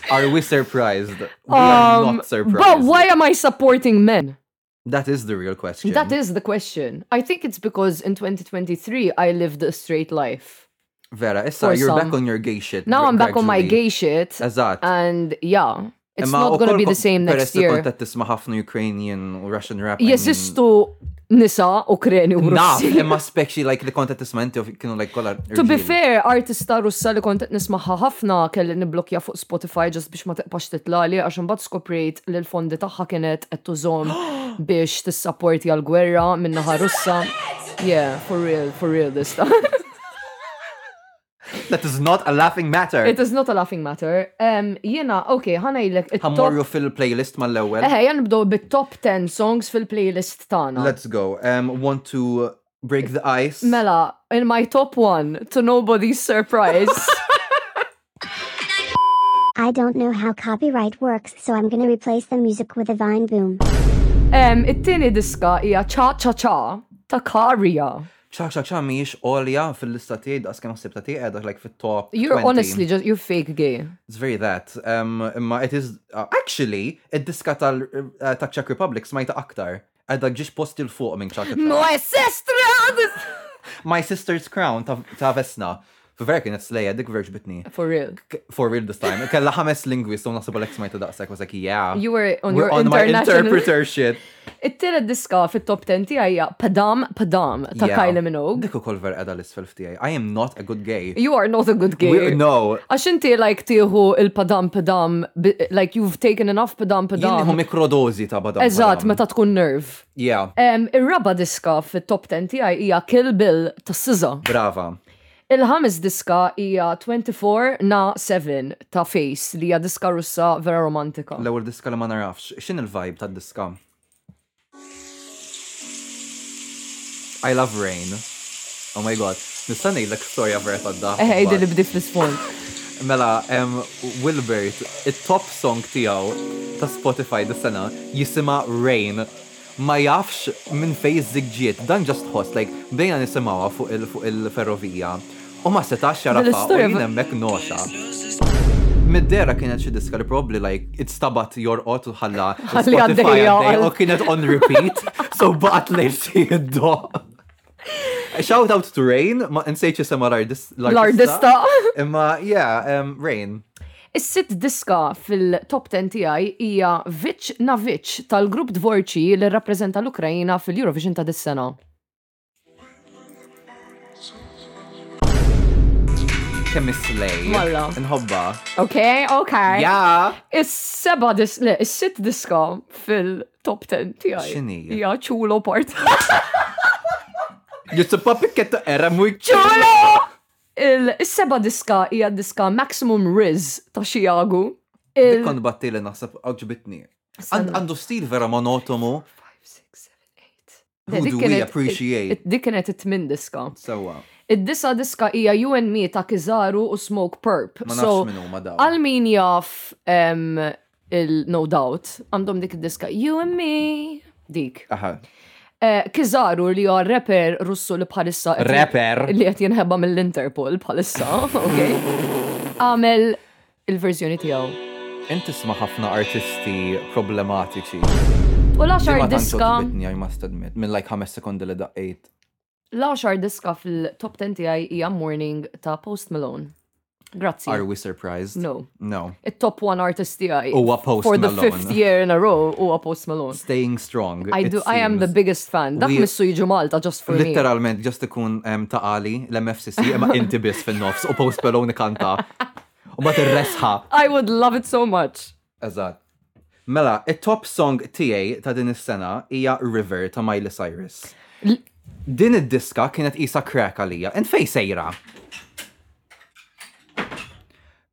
Speaker 4: Are we surprised? We are
Speaker 3: Um,
Speaker 4: not surprised.
Speaker 3: But why am I supporting men?
Speaker 4: That is the real question.
Speaker 3: That is the question. I think it's because in 2023 I lived a straight life.
Speaker 4: Vera, issa,
Speaker 3: For
Speaker 4: you're back
Speaker 3: some.
Speaker 4: on your gay shit.
Speaker 3: Now I'm back on my
Speaker 4: gradually.
Speaker 3: gay shit.
Speaker 4: Eżatt.
Speaker 3: And yeah, it's
Speaker 4: Imma u
Speaker 3: not going
Speaker 4: kol
Speaker 3: to be the
Speaker 4: kont-
Speaker 3: same
Speaker 4: peress
Speaker 3: next
Speaker 4: li
Speaker 3: year.
Speaker 4: Kont qed tisma' ħafna Ukrainian u Russian rap. I mean,
Speaker 3: Jesistu nisa Ukreni u
Speaker 4: Naf,
Speaker 3: Russi.
Speaker 4: imma speċi like li kont qed tisma' inti u kienu like kollha.
Speaker 3: To be
Speaker 4: irġiel.
Speaker 3: fair, artista russa li kontet nismaħħa ħafna kelli nibblokja fuq Spotify ġas biex ma teqpax titlali għax imbagħad skoprejt li l-fondi tagħha kienet qed tużhom biex tissapporti għal gwerra min-naħa russa. Yeah, for real, for real this time.
Speaker 4: That is not a laughing matter.
Speaker 3: It is not a laughing matter. Um, jena, ok, ħanajlek
Speaker 4: Ħammorru
Speaker 3: it-top.
Speaker 4: fil-playlist mal-ewwel.
Speaker 3: Eħe, jan eh, nibdow bit-top 10 songs fil-playlist tagħna.
Speaker 4: Let's go. Um, want to break the ice?
Speaker 3: Mela, in my top one, to nobody's surprise.
Speaker 8: I don't know how copyright works, so I'm gonna replace the music with a vine boom.
Speaker 3: Em, um, it-tieni diska hija Cha Cha Cha ta' Karja.
Speaker 4: ċa ċa ċa miex olja fil-lista tiegħi daqs kemm ħsib ta' tiegħi qiegħda like fit-top.
Speaker 3: You're
Speaker 4: 20.
Speaker 3: honestly just you're fake gay.
Speaker 4: It's very that. Um, imma it is uh, actually id-diska tal uh, ta' Czech Republic smajta aktar. Għadda ġiex posti l-fuq minn ċa ċa ċa.
Speaker 3: My sister!
Speaker 4: My Sister's Crown ta' ta' Vesna. F'vera kienet slejja dik verġ bitni.
Speaker 3: For real.
Speaker 4: K- For real this time. Kella ħames lingwi, so nasib l smajta daqsek, was like, yeah.
Speaker 3: You were on
Speaker 4: We're
Speaker 3: your
Speaker 4: on my
Speaker 3: international-
Speaker 4: interpreter shit.
Speaker 3: It-tielet diska fit-top 10 tiegħi hija Padam Padam ta'
Speaker 4: Yeah.
Speaker 3: Kylie Minogue.
Speaker 4: Dik ukoll ver qiegħda l-isfel f'tiegħi. I am not a good gay.
Speaker 3: You are not a good gay.
Speaker 4: We- no.
Speaker 3: Għax inti like tieħu il-padam padam, bi- like you've taken enough padam
Speaker 4: Jinniħu
Speaker 3: padam.
Speaker 4: mikrodozi ta' badam.
Speaker 3: Eżatt,
Speaker 4: badam.
Speaker 3: meta tkun nerv.
Speaker 4: Yeah,
Speaker 3: Um, Il-raba diska fit-top 10 tiegħi hija Kill Bill ta' SZA.
Speaker 4: brava.
Speaker 3: Il-ħames diska hija 24 na 7 ta' Face li hija diska russa vera romantika.
Speaker 4: L-ewwel diska li ma narafx, x'in il-vibe tad-diska? I love rain. Oh my god, nista' ngħidlek storja vera tad-da.
Speaker 3: Eħe, id Eh, li bdi fl-isfond.
Speaker 4: Mela, em, Wilbert, il-top song tijaw ta' Spotify dis-sena jisima Rain. Ma jafx minn fej zigġiet, dan just host, like, dejna nisimawa fuq il- fuq il-ferrovija. U ma setax jarafa, u
Speaker 3: Dil-istorja
Speaker 4: jien
Speaker 3: ma-
Speaker 4: hemmhekk noxa. Middera kienet xi diska li probably like it stabat jorqot u ħalla
Speaker 3: Ħalli għaddej
Speaker 4: Spotify għaddej
Speaker 3: joqgħod.
Speaker 4: u kienet on repeat, so baqat lejn xi id-do. Shout out to Rain, ma nsejċ jisema l-artist- l-artista.
Speaker 3: L-artista.
Speaker 4: Imma, yeah, um, Rain.
Speaker 3: Is-sitt diska fil-top 10 tiegħi hija Vic na Vic tal-grupp Dvorċi li rappreżenta l-Ukrajina fil-Eurovision ta' dis-sena.
Speaker 4: Kemm is-slej.
Speaker 3: Malla.
Speaker 4: Nħobba.
Speaker 3: Okay, okay.
Speaker 4: Ja.
Speaker 3: Is-seba dis le, is-sitt diska fil-top 10 tiegħi.
Speaker 4: X'inhi?
Speaker 3: Hija Chulo Part.
Speaker 4: Jitsuppa pikketta era muy
Speaker 3: Chulo! Il- Is-seba diska hija diska Maximum Riz ta' Chicago. Il-
Speaker 4: Kon batti li naħseb għagġbitni.
Speaker 3: Sanna.
Speaker 4: Għandu stil vera monotomu. Who
Speaker 3: Dik
Speaker 4: do we
Speaker 3: kienet-
Speaker 4: appreciate?
Speaker 3: it- Dik kienet it-tmin diska.
Speaker 4: Sewa.
Speaker 3: Id-disa diska hija You and Me ta' Kizaru u Smoke Perp.
Speaker 4: Ma nafx
Speaker 3: so,
Speaker 4: min huma dawn.
Speaker 3: Għal min jaf em, il-No Doubt, għandhom dik id-diska You and Me. Dik.
Speaker 4: Aha.
Speaker 3: Eh, Kizaru li huwa rapper russu li bħalissa. qed-
Speaker 4: Rapper?
Speaker 3: Li qed jinħebba mill-Interpol bħalissa, ok? Għamel il-verżjoni tiegħu.
Speaker 4: Inti sma ħafna artisti problematiċi.
Speaker 3: U
Speaker 4: Di
Speaker 3: l-axar
Speaker 4: ma tantx
Speaker 3: diska,
Speaker 4: għġbitni, I must admit. Minn like ħames sekondi li daqqejt.
Speaker 3: l-axar diska fil-top 10 tiegħi hija Morning ta' Post Malone. Grazzi.
Speaker 4: Are we surprised?
Speaker 3: No.
Speaker 4: No.
Speaker 3: it-top one artist tiegħi.
Speaker 4: Huwa Post
Speaker 3: For the
Speaker 4: Malone.
Speaker 3: fifth year in a row huwa Post Malone.
Speaker 4: Staying strong.
Speaker 3: I
Speaker 4: it
Speaker 3: do I am the
Speaker 4: seems.
Speaker 3: biggest fan. Dak
Speaker 4: We-
Speaker 3: missu jiġu Malta just for me.
Speaker 4: Literalment, just ikun um, taqali l-MFCC imma inti biss fin-nofs u post Malone kanta. U ma tirresħa.
Speaker 3: I would love it so much.
Speaker 4: Eżatt. Mela, it-top song tiegħi ta' din is-sena hija River ta' Miley Cyrus.
Speaker 3: L-
Speaker 4: Din id-diska kienet isa crack għalija. And fej sejra.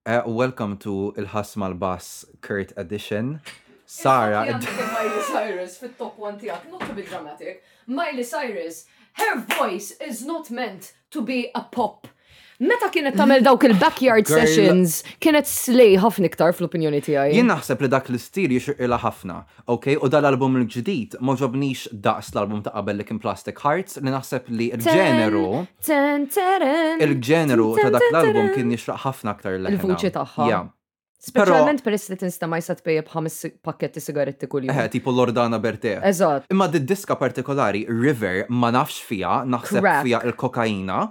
Speaker 4: Uh, welcome to il-ħasma l-bass Kurt Edition. Sara,
Speaker 3: Miley Cyrus fit-top one tiegħek, not to be dramatic. Miley Cyrus, her voice is not meant to be a pop. Meta kienet tagħmel dawk il-backyard
Speaker 4: Girl.
Speaker 3: sessions, kienet slej ħafna iktar fl-opinjoni tiegħi.
Speaker 4: jien naħseb li dak l-istil jixirqila ħafna, ok? U dal-album l-ġdid ma ġobnix daqs l-album ta' qabel li kien Plastic Hearts li naħseb li il-ġeneru
Speaker 3: Ten, ten, teren.
Speaker 4: il-ġeneru ta'
Speaker 3: Ten,
Speaker 4: dak
Speaker 3: ten,
Speaker 4: l-album
Speaker 3: teren.
Speaker 4: kien jixraq ħafna aktar l
Speaker 3: Il-vuċi tagħha.
Speaker 4: Pero-
Speaker 3: Specialment peress li tinsta ma jisat pejja bħames pakketti sigaretti kull
Speaker 4: Eħe,
Speaker 3: jum.
Speaker 4: Eh, tipo Lordana Berte.
Speaker 3: Eżatt.
Speaker 4: Imma di diska partikolari, River, ma nafx fija, naħseb
Speaker 3: Crack.
Speaker 4: fija il-kokaina.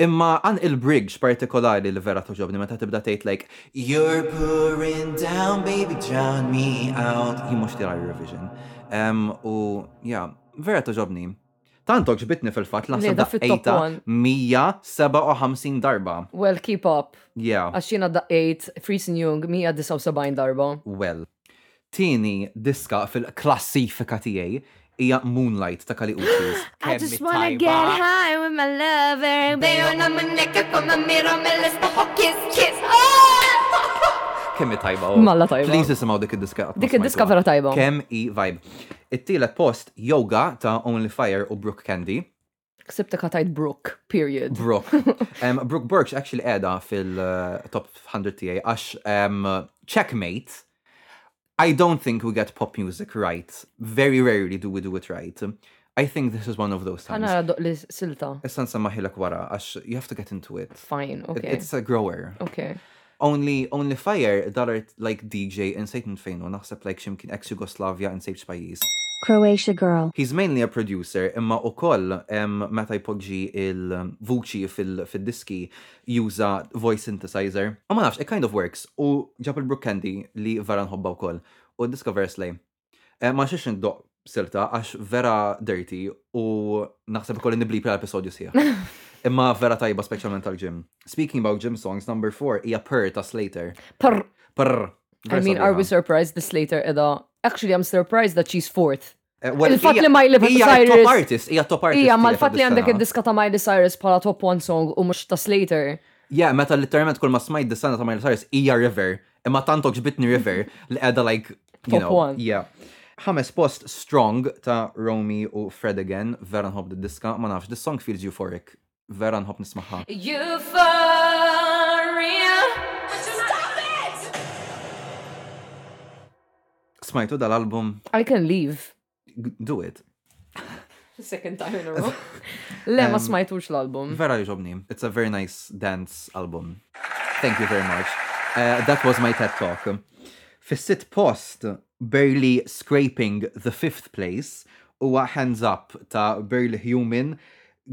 Speaker 4: Imma għan il-bridge partikolari li vera toġobni, meta tibda tgħid like, You're pouring down, baby, drown me out. Jien mhux tira Eurovision. Em, U, ja, vera toġobni. Tant ġbitni fil-fat,
Speaker 3: Le,
Speaker 4: naħseb da
Speaker 3: da fit-top one.
Speaker 4: 157 darba.
Speaker 3: Well, keep up.
Speaker 4: Yeah.
Speaker 3: Għaxina daqqejt Friesen Jung 179 darba.
Speaker 4: well. Tini diska fil-klassifika tiegħi hija Moonlight ta' Kali Uchis.
Speaker 9: I just wanna get high with my lover. Bayon na maneka ko mamiro meles pa ho kiss kiss. Ah!
Speaker 4: Kemm hi tajba. oh.
Speaker 3: Malla tajba.
Speaker 4: Please isimgħu dik id-diska. qatt ma
Speaker 3: Dik id-diska
Speaker 4: smajtuha.
Speaker 3: vera tajba.
Speaker 4: Kemm i vibe. It-tielet post Yoga ta' Only Fire u Brooke Candy.
Speaker 3: ksibtek ħatajt Brooke, period.
Speaker 4: Brooke. Um, Brooke Burks actually edha fil-top 100 tiegħi għax um, checkmate. I don't think we get pop music right. Very rarely do we do it right. I think this is one of those times.
Speaker 3: Għana radoq li silta.
Speaker 4: Issa nsemmaħilek wara għax you have to get into it.
Speaker 3: Fine,
Speaker 4: It-
Speaker 3: okay.
Speaker 4: It's a grower.
Speaker 3: Okay.
Speaker 4: Only only fire daret like DJ in Satan fejn u naħseb like ximkien ex Yugoslavia in Sejbx pajjiż.
Speaker 8: Croatia girl.
Speaker 4: He's mainly a producer, imma u koll um, meta jpoġġi il-vuċi fil- fil-diski juża voice synthesizer. U ma nafx, it kind of works. U ġab il-Brook Candy li vera nħobba u koll. U discovers lej. Eh, ma xiex ndoq silta għax vera dirty u naħseb ukoll nibli pra episodju sija. Imma vera tajba specialment tal-ġim. Speaking about gym songs, number four hija Purr ta' Slater.
Speaker 3: Per,
Speaker 4: Purr.
Speaker 3: I
Speaker 4: Vera
Speaker 3: mean, are we
Speaker 4: sabiħa.
Speaker 3: surprised this later edha? Actually, I'm surprised that she's fourth.
Speaker 4: Eh, well,
Speaker 3: il-fatt
Speaker 4: hija-
Speaker 3: li Miley
Speaker 4: Hija top
Speaker 3: Cyrus-
Speaker 4: artist, hija top artist.
Speaker 3: Ija, ma
Speaker 4: tiegħek
Speaker 3: l-fat li għandek
Speaker 4: dis-sena.
Speaker 3: id-diska ta' Miley Cyrus pala top one song u mux ta' Slater.
Speaker 4: Yeah, meta literalment kull ma smajt dis-sena ta' Miley Cyrus hija River, imma tantok ġbitni River li qiegħda like you
Speaker 3: Top
Speaker 4: know.
Speaker 3: one.
Speaker 4: Yeah. Ħames post Strong ta' Romy u Fred again, vera nħobb diska, ma nafx, this song feels euphoric. Vera nħobb nismaħħa.
Speaker 9: Euphoria. Stop it!
Speaker 4: Smajtu dal-album,
Speaker 3: I can leave.
Speaker 4: g- do it.
Speaker 3: Second time in a row. Le,
Speaker 4: Um,
Speaker 3: ma smajtux l-album.
Speaker 4: Vera jġobni. It's a very nice dance album. Thank you very much. Uh, that was my TED Talk. Fis-sitt post, barely scraping the fifth place, huwa Hands Up ta' Barely Human,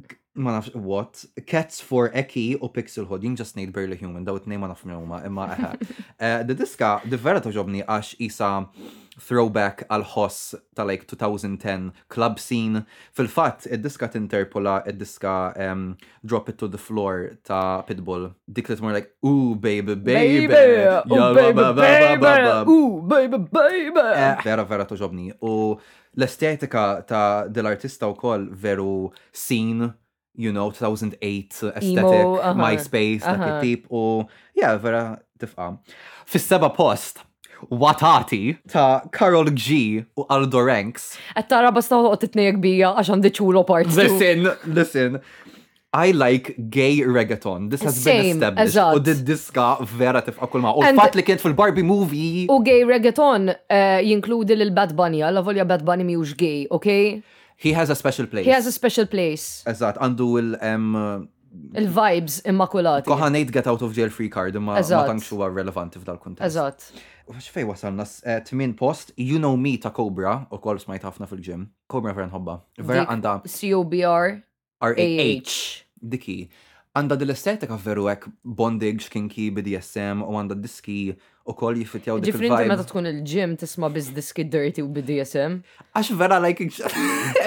Speaker 4: K- ma nafx what, Cats for Eki u Pixel Hood, jien just need Barely Human, daw it-nejn ma nafx minn huma, imma eħe. Eh, The diska, di vera toġobni għax isa throwback għal ħoss ta' like 2010 club scene. Fil-fatt, id-diska tinterpola id-diska em, Drop It to the Floor ta' Pitbull. Dik li tmur like, ooh baby, baby,
Speaker 3: oh,
Speaker 4: yalla, ba, ba, ba, ba, ba."
Speaker 3: baby, ooh, baby, baby.
Speaker 4: Eh, Vera, vera toġobni. U l-estetika ta' dell-artista u koll veru scene, you know, 2008 aesthetic,
Speaker 3: aha,
Speaker 4: MySpace, dak
Speaker 3: aha.
Speaker 4: it-tip. U, yeah, vera tifqa. Fis-seba post, Watati ta' Karol G u Aldo Ranks.
Speaker 3: Għattara basta għot titnejek bija għaxan diċulo part. two.
Speaker 4: Listen, listen. I like gay reggaeton. This has been
Speaker 3: Same,
Speaker 4: established.
Speaker 3: eżatt.
Speaker 4: U did diska vera tifqa kull ma. U
Speaker 3: And-
Speaker 4: l-fat li kien fil-Barbie movie.
Speaker 3: U gay reggaeton eh, jinkludi l-Bad Bunny, għalla volja Bad Bunny miwx gay, ok?
Speaker 4: He has a special place.
Speaker 3: He has a special place.
Speaker 4: Eżat, għandu il-
Speaker 3: Il-vibes immakulati.
Speaker 4: Koħanejt get out of jail free card ma ma
Speaker 3: Eżatt.
Speaker 4: tantx huwa relevanti f'dal kuntest.
Speaker 3: Eżat.
Speaker 4: Għax fej wasalna s- eh, tmien post, you know me ta' Cobra, u kol smajt ħafna fil-ġim. Cobra vera nħobba. Vera
Speaker 3: Dik
Speaker 4: għanda
Speaker 3: COBR
Speaker 4: R-A-H. Diki. Għanda dil-estetika veru ek bondage, kinky, BDSM, u għanda diski u kol jifitjaw dik
Speaker 3: Ġifri inti meta
Speaker 4: il-vibe.
Speaker 3: tkun il-ġim tisma' biz diski dirty u BDSM.
Speaker 4: Għax vera like,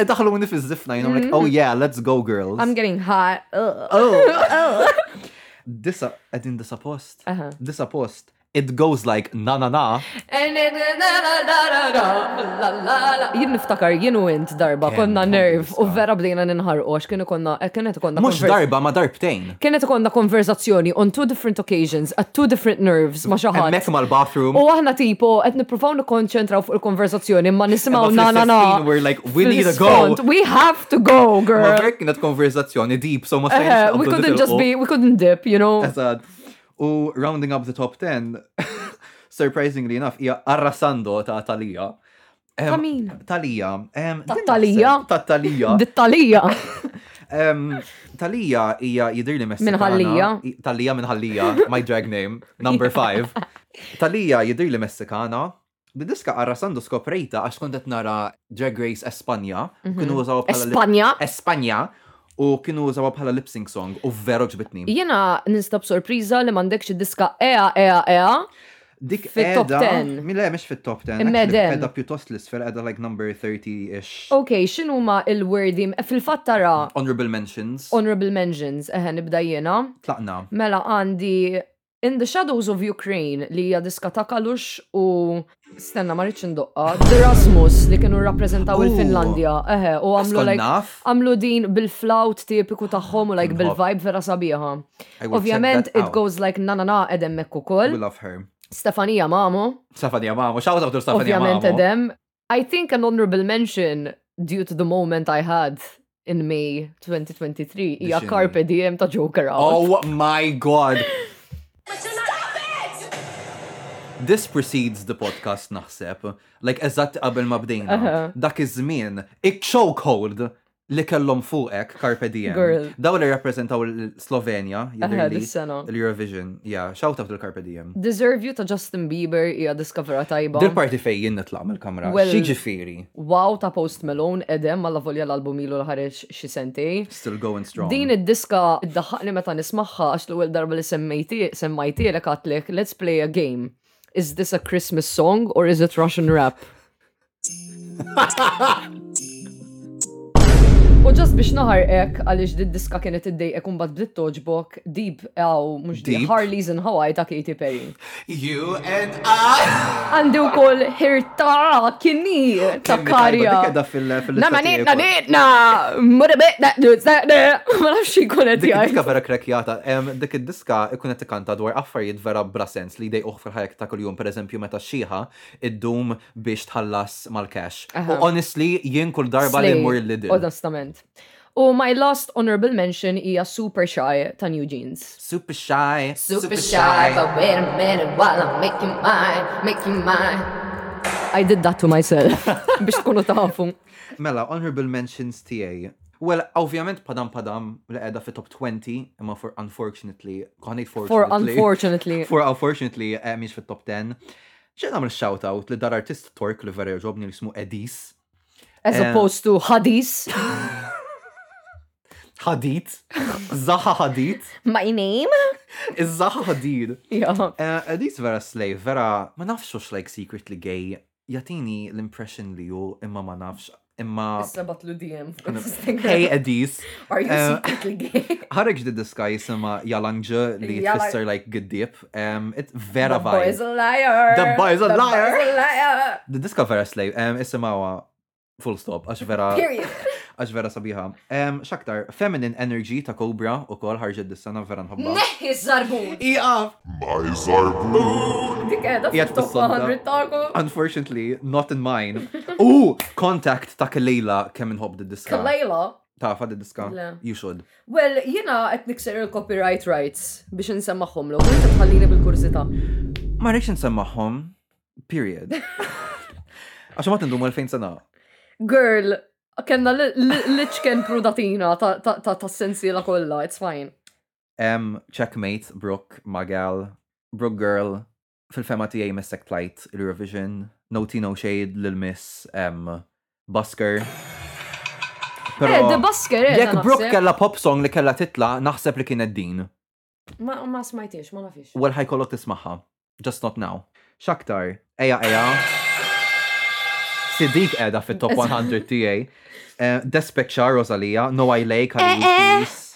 Speaker 4: daħlu minni fil-zifna, you know, like, oh yeah, let's go girls.
Speaker 3: Mm. I'm getting hot. Ugh.
Speaker 4: Oh. Disa, għedin disa post.
Speaker 3: Aha.
Speaker 4: Disa post. It goes like na na na.
Speaker 3: And it- na- na- na- na- na- la- la- la. Jien niftakar jien u int darba
Speaker 4: Kemm
Speaker 3: konna
Speaker 4: kont
Speaker 3: nerv u
Speaker 4: nista.
Speaker 3: vera bdejna ninħarqu għax kienu konna eh, kienet konna
Speaker 4: Mux
Speaker 3: konvers-
Speaker 4: darba ma darbtejn.
Speaker 3: Kienet konna konversazzjoni on two different occasions at two different nerves ma xi ħadd.
Speaker 4: Emmek mal-bathroom.
Speaker 3: U aħna tipo, qed nippruvaw nikkonċentraw fuq il-konversazzjoni, ma nisimgħu
Speaker 4: Imma
Speaker 3: na na na.
Speaker 4: fl-istess ħin we're like, we need to
Speaker 3: Fil-isfond,
Speaker 4: go.
Speaker 3: We have to go,
Speaker 4: Ma
Speaker 3: girl.
Speaker 4: verk kienet konversazzjoni deep, so ma
Speaker 3: Eh,
Speaker 4: stajniex.
Speaker 3: we couldn't just be, we couldn't dip, you know.
Speaker 4: Eżad. Oh, U rounding up the top 10, surprisingly enough, hija Arrasando ta' Talija.
Speaker 3: Ta' min?
Speaker 4: Talija. Em,
Speaker 3: Ta'
Speaker 4: din
Speaker 3: Thalía?
Speaker 4: naħseb, Ta' Talija.
Speaker 3: Dittalija.
Speaker 4: Em, Talija hija jidir li messikana.
Speaker 3: Minħallija.
Speaker 4: I- Talija minħallija, my drag name, number five. Talija jidir li messikana. Didiska arrasando skoprejta għax kontet nara Drag Race Espanja. Kienu użaw bħala lip-
Speaker 3: Mhm. Espanja?
Speaker 4: Espanja. U kienu użaw bħala lip sync song u vero ġbitni.
Speaker 3: Jena ninstab sorpriza li mandekx id-diska ea ea ea.
Speaker 4: Dik
Speaker 3: fit-top
Speaker 4: edha-
Speaker 3: 10.
Speaker 4: Mille, mhix fit-top 10.
Speaker 3: Imma
Speaker 4: actually,
Speaker 3: edem.
Speaker 4: Edha pjuttost l-isfel, edha like number 30-ish.
Speaker 3: Ok, xinu ma il-wordi, fil-fat tara
Speaker 4: Honorable mentions.
Speaker 3: honorable mentions, eħe nibda jena.
Speaker 4: Tlaqna.
Speaker 3: Mela għandi In the Shadows of Ukraine li hija diska ta' Kalux u stenna ma rridx indoqqa, Erasmus li kienu rappreżentaw
Speaker 4: Oh.
Speaker 3: il-Finlandja, eħe, u għamlu
Speaker 4: Skont
Speaker 3: like
Speaker 4: naf.
Speaker 3: għamlu din bil-flawt tipiku tagħhom u like
Speaker 4: Nħobb.
Speaker 3: bil-vibe vera sabiħa.
Speaker 4: I will check
Speaker 3: Ovvjament
Speaker 4: that
Speaker 3: it
Speaker 4: out.
Speaker 3: goes like na na na edem mekk
Speaker 4: We
Speaker 3: ukoll.
Speaker 4: love her.
Speaker 3: Stefanija mamu,
Speaker 4: Stefania Mamo, shout out to Stefania Mamo.
Speaker 3: ovvjament edem. I think an honorable mention due to the moment I had in May 2023 hija
Speaker 4: Biex in-
Speaker 3: Carpe Diem ta' Joker Out.
Speaker 4: Oh my god!
Speaker 9: Stop it!
Speaker 4: This precedes the podcast naħseb. Like eżatt qabel ma bdejna.
Speaker 3: Aha.
Speaker 4: Dak iż-żmien, ik-chokehold li kellhom fuqek Carpe Diem.
Speaker 3: Girl.
Speaker 4: Daw li rappreżentaw il-Slovenja, jidher li,
Speaker 3: dis-sena.
Speaker 4: l-Eurovision. Yeah, shout out il-Carpe Diem.
Speaker 3: Deserve You ta' Justin Bieber hija diskavera tajba.
Speaker 4: Dil parti fej jien nitla' mill-kamra.
Speaker 3: Well-
Speaker 4: Xieġifieri,
Speaker 3: Wow ta' Post Malone e edem ma la volja l-album ilu l-ħareġ xi sentej.
Speaker 4: still going strong.
Speaker 3: Din id-diska id-daħħaqni meta nismaħħa għax l-ewwel darba li semmejti- semmajtielek għatlek let's play a game. Is this a Christmas song or is it Russian rap? U ġast biex naħarqek għaliex di diska kienet id-dejqek un bad bditt toġbok Deep għaw mux Deep
Speaker 4: Deep?
Speaker 3: Harley's in Hawaii ta' Katy Perry.
Speaker 4: You and I!
Speaker 3: Għandi u koll hirta kinni ta' karja.
Speaker 4: Dik edha fil- fil-
Speaker 3: Nama
Speaker 4: istati
Speaker 3: nitna
Speaker 4: ekwa.
Speaker 3: nitna! Mura bitna d-duzna! Ma nafx ikun għed
Speaker 4: Dik id-diska
Speaker 3: jgħaj.
Speaker 4: vera krekjata, em, dik id-diska ikun qed tikkanta dwar affarijiet vera bra sens li dejquh fil-ħajk ta' kuljum, pereżempju meta xieħa id-dum biex tħallas mal-cash. U
Speaker 3: Aha.
Speaker 4: honestly, jien kull darba li
Speaker 3: Slay,
Speaker 4: mmur l-lidil.
Speaker 3: Onestament. U Oh, my last honorable mention hija Super Shy ta' New Jeans.
Speaker 4: Super shy.
Speaker 1: Super shy, but wait a minute while I make you mine, make you mine.
Speaker 3: I did that to myself. Biex tkunu tafu.
Speaker 4: Mela, honorable mentions tiegħi. Well, ovvjament padam padam li qiegħda fi top 20, imma for unfortunately, konejt
Speaker 3: For
Speaker 4: fortunately.
Speaker 3: unfortunately.
Speaker 4: For unfortunately, eh, miex fit top 10. Xena għamil shout-out li dar artist Tork li vera jogħġobni li jismu Edis.
Speaker 3: As
Speaker 4: Eh.
Speaker 3: opposed to Hadis.
Speaker 4: Hadid. Zaha Hadid.
Speaker 3: My name?
Speaker 4: Iż-żaħa ħadid.
Speaker 3: Ja.
Speaker 4: Għadis Eh, vera slej, vera, ma nafx ux like secretly gay, jatini l-impression li ju, imma ma nafx, imma.
Speaker 3: batlu DM.
Speaker 4: Hey, Edis.
Speaker 3: Are you
Speaker 4: Eh,
Speaker 3: secretly gay?
Speaker 4: Ħareġ di diska jisima Jalanja li
Speaker 3: Yalang-
Speaker 4: tfisser like giddib. Um, it vera
Speaker 3: The boy
Speaker 4: vibe.
Speaker 3: is a liar.
Speaker 4: The boy is a
Speaker 3: The
Speaker 4: liar.
Speaker 3: boy is a liar.
Speaker 4: Di diska vera slej, um, jisimawa full stop, għax vera.
Speaker 3: Period.
Speaker 4: Għax vera sabiħa. Um, xaktar, Feminine Energy ta' Cobra u kol ħarġet dis-sena vera nħobba.
Speaker 3: Neħi zarbun.
Speaker 4: Iqaf!
Speaker 3: Dik edha
Speaker 4: Jgħat
Speaker 3: top
Speaker 4: fis-sonda.
Speaker 3: 100 taku.
Speaker 4: Unfortunately, not in mine. Ooh, contact ta' Kalila kemm inħobb the diska.
Speaker 3: Kalejla.
Speaker 4: Ta' fa' the diska.
Speaker 3: Le.
Speaker 4: You should.
Speaker 3: Well, jina qed nikser il-copyright rights biex nsemmaħom l inti tħallini bil-kursita.
Speaker 4: Ma rridx nsemmaħħom. Period. Għax ma tindum għalfejn sena.
Speaker 3: Girl, kena l-ċken prudatina ta' ta' ta' ta' sensiela kollha, it's fine.
Speaker 4: Em, checkmate, Brooke, Magal, Brooke Girl, fil-fema tijaj Messek Plight, Eurovision, No Tea No Shade, Lil Miss, em, Busker.
Speaker 3: Eh, the Busker, eh,
Speaker 4: Jekk
Speaker 3: ta'
Speaker 4: Brooke
Speaker 3: naħseb.
Speaker 4: kella pop song li kella titla, naħseb li kienet din.
Speaker 3: Ma ma smajtiex, ma nafix.
Speaker 4: Well, ħajkollok tismaħħa. Just not now. Xaktar, eja, eja. Siddiq edha fit top 100 tijaj. Eh, Despecha, Rosalia, No I Lake,
Speaker 3: Eh,
Speaker 4: Halil Peace.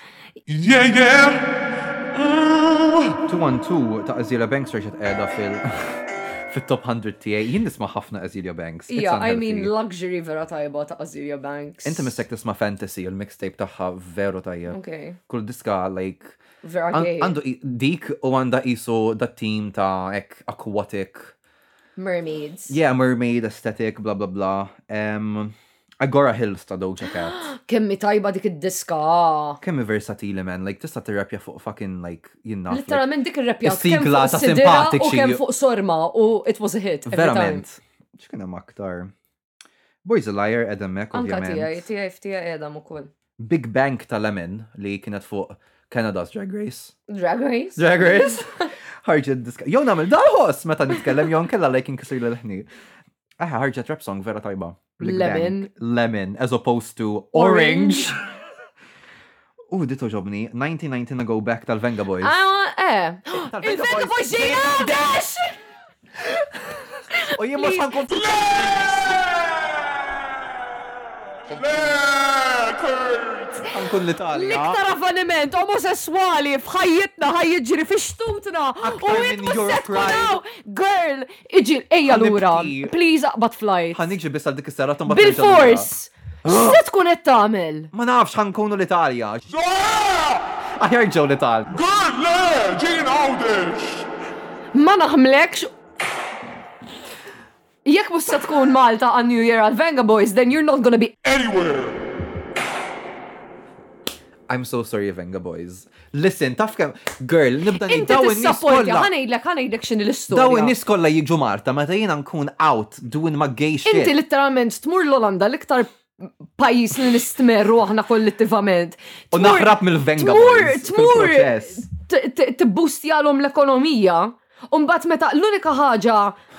Speaker 4: Yeah, yeah! 212 ta' Azealia Banks reġet edha fil fit top 100 tijaj. Jien nisma ħafna Azealia Banks. It's
Speaker 3: Yeah, I
Speaker 4: unhealthy.
Speaker 3: mean luxury vera tajba ta' Azealia Banks.
Speaker 4: Inti mistek tisma fantasy, il-mixtape taħħa veru tajja.
Speaker 3: Okay,
Speaker 4: Kull diska, like,
Speaker 3: vera
Speaker 4: An-
Speaker 3: gay.
Speaker 4: Għandu i- dik u għanda isu dat team ta' ek aquatic.
Speaker 3: Mermaids.
Speaker 4: Yeah, mermaid aesthetic, bla bla bla. Um, Agora Hills ta' Doja Cat.
Speaker 3: Kemmi tajba dik id-diska.
Speaker 4: Kemm i versatili man, like tista' tirrapja fuq fucking like jinnaf. like,
Speaker 3: Literalment dik ir-repjat.
Speaker 4: Is-sigla ta'
Speaker 3: U
Speaker 4: simpatiċi.
Speaker 3: kemm fuq sorma u it was a hit. every time.
Speaker 4: Verament. X'kien hemm aktar? Boys a Liar, Adam Mac,
Speaker 3: Anka tijaj,
Speaker 4: ovvjament.
Speaker 3: tijaj ftijaj edam u koll.
Speaker 4: Big Bang ta' Lemon li kienet fuq Canada's Drag Race.
Speaker 3: Drag Race?
Speaker 4: Drag Race. ħarġet diska. Jow namel dalħos meta nitkellem jow nkella lajk inkisir l-ħni. Aha, ħarġet rap song vera tajba. Big Bang.
Speaker 3: Lemon.
Speaker 4: Lemon, as opposed to
Speaker 3: Orange.
Speaker 4: orange. U dit uġobni, 1919 Go Back tal-Venga Boys.
Speaker 3: Ah, eh.
Speaker 4: Tal-Venga
Speaker 3: Il-Venga
Speaker 4: Boys.
Speaker 3: Boys ġejadex!
Speaker 4: U jien mhux ħankun- ħankun l-Italja.
Speaker 3: L-iktar avveniment omosessuali fħajjitna ħaj jiġri fi xtutna. U
Speaker 4: Aktar minn
Speaker 3: jitmu
Speaker 4: your
Speaker 3: sekkunaw. Girl, iġi ejja lura.
Speaker 4: Ħanibki.
Speaker 3: Please aqbad flight.
Speaker 4: Ħaniġi biss għal dik is-sera tomba.
Speaker 3: Bil-fors. Se tkun qed tagħmel?
Speaker 4: Ma nafx ħankunu l-Italja. Aħjar ġew l-Italja.
Speaker 3: Ma naħmlekx. Jekk mhux se tkun Malta għan New Year għal Venga Boys, then you're not gonna be
Speaker 4: I'm so sorry, Venga Boys. Listen, taf kem, girl, nibda ngħid,
Speaker 3: Inti
Speaker 4: daw in-nies
Speaker 3: t-sapportja,
Speaker 4: kollha.
Speaker 3: ħanajdlek, ħanajdlek xin l-istoria.
Speaker 4: Daw in-nies kollha jiġu Marta, meta jiena nkun out doing my gay shit.
Speaker 3: Inti literalment tmur l-Olanda l-iktar pajis li nistmerru aħna kollettivament.
Speaker 4: U
Speaker 3: Tmur-
Speaker 4: naħrab mill-Venga
Speaker 3: Tmur,
Speaker 4: Boys
Speaker 3: tmur,
Speaker 4: fil-proċess.
Speaker 3: t- t- tibbustjalhom l-ekonomija. Umbat meta l-unika ħaġa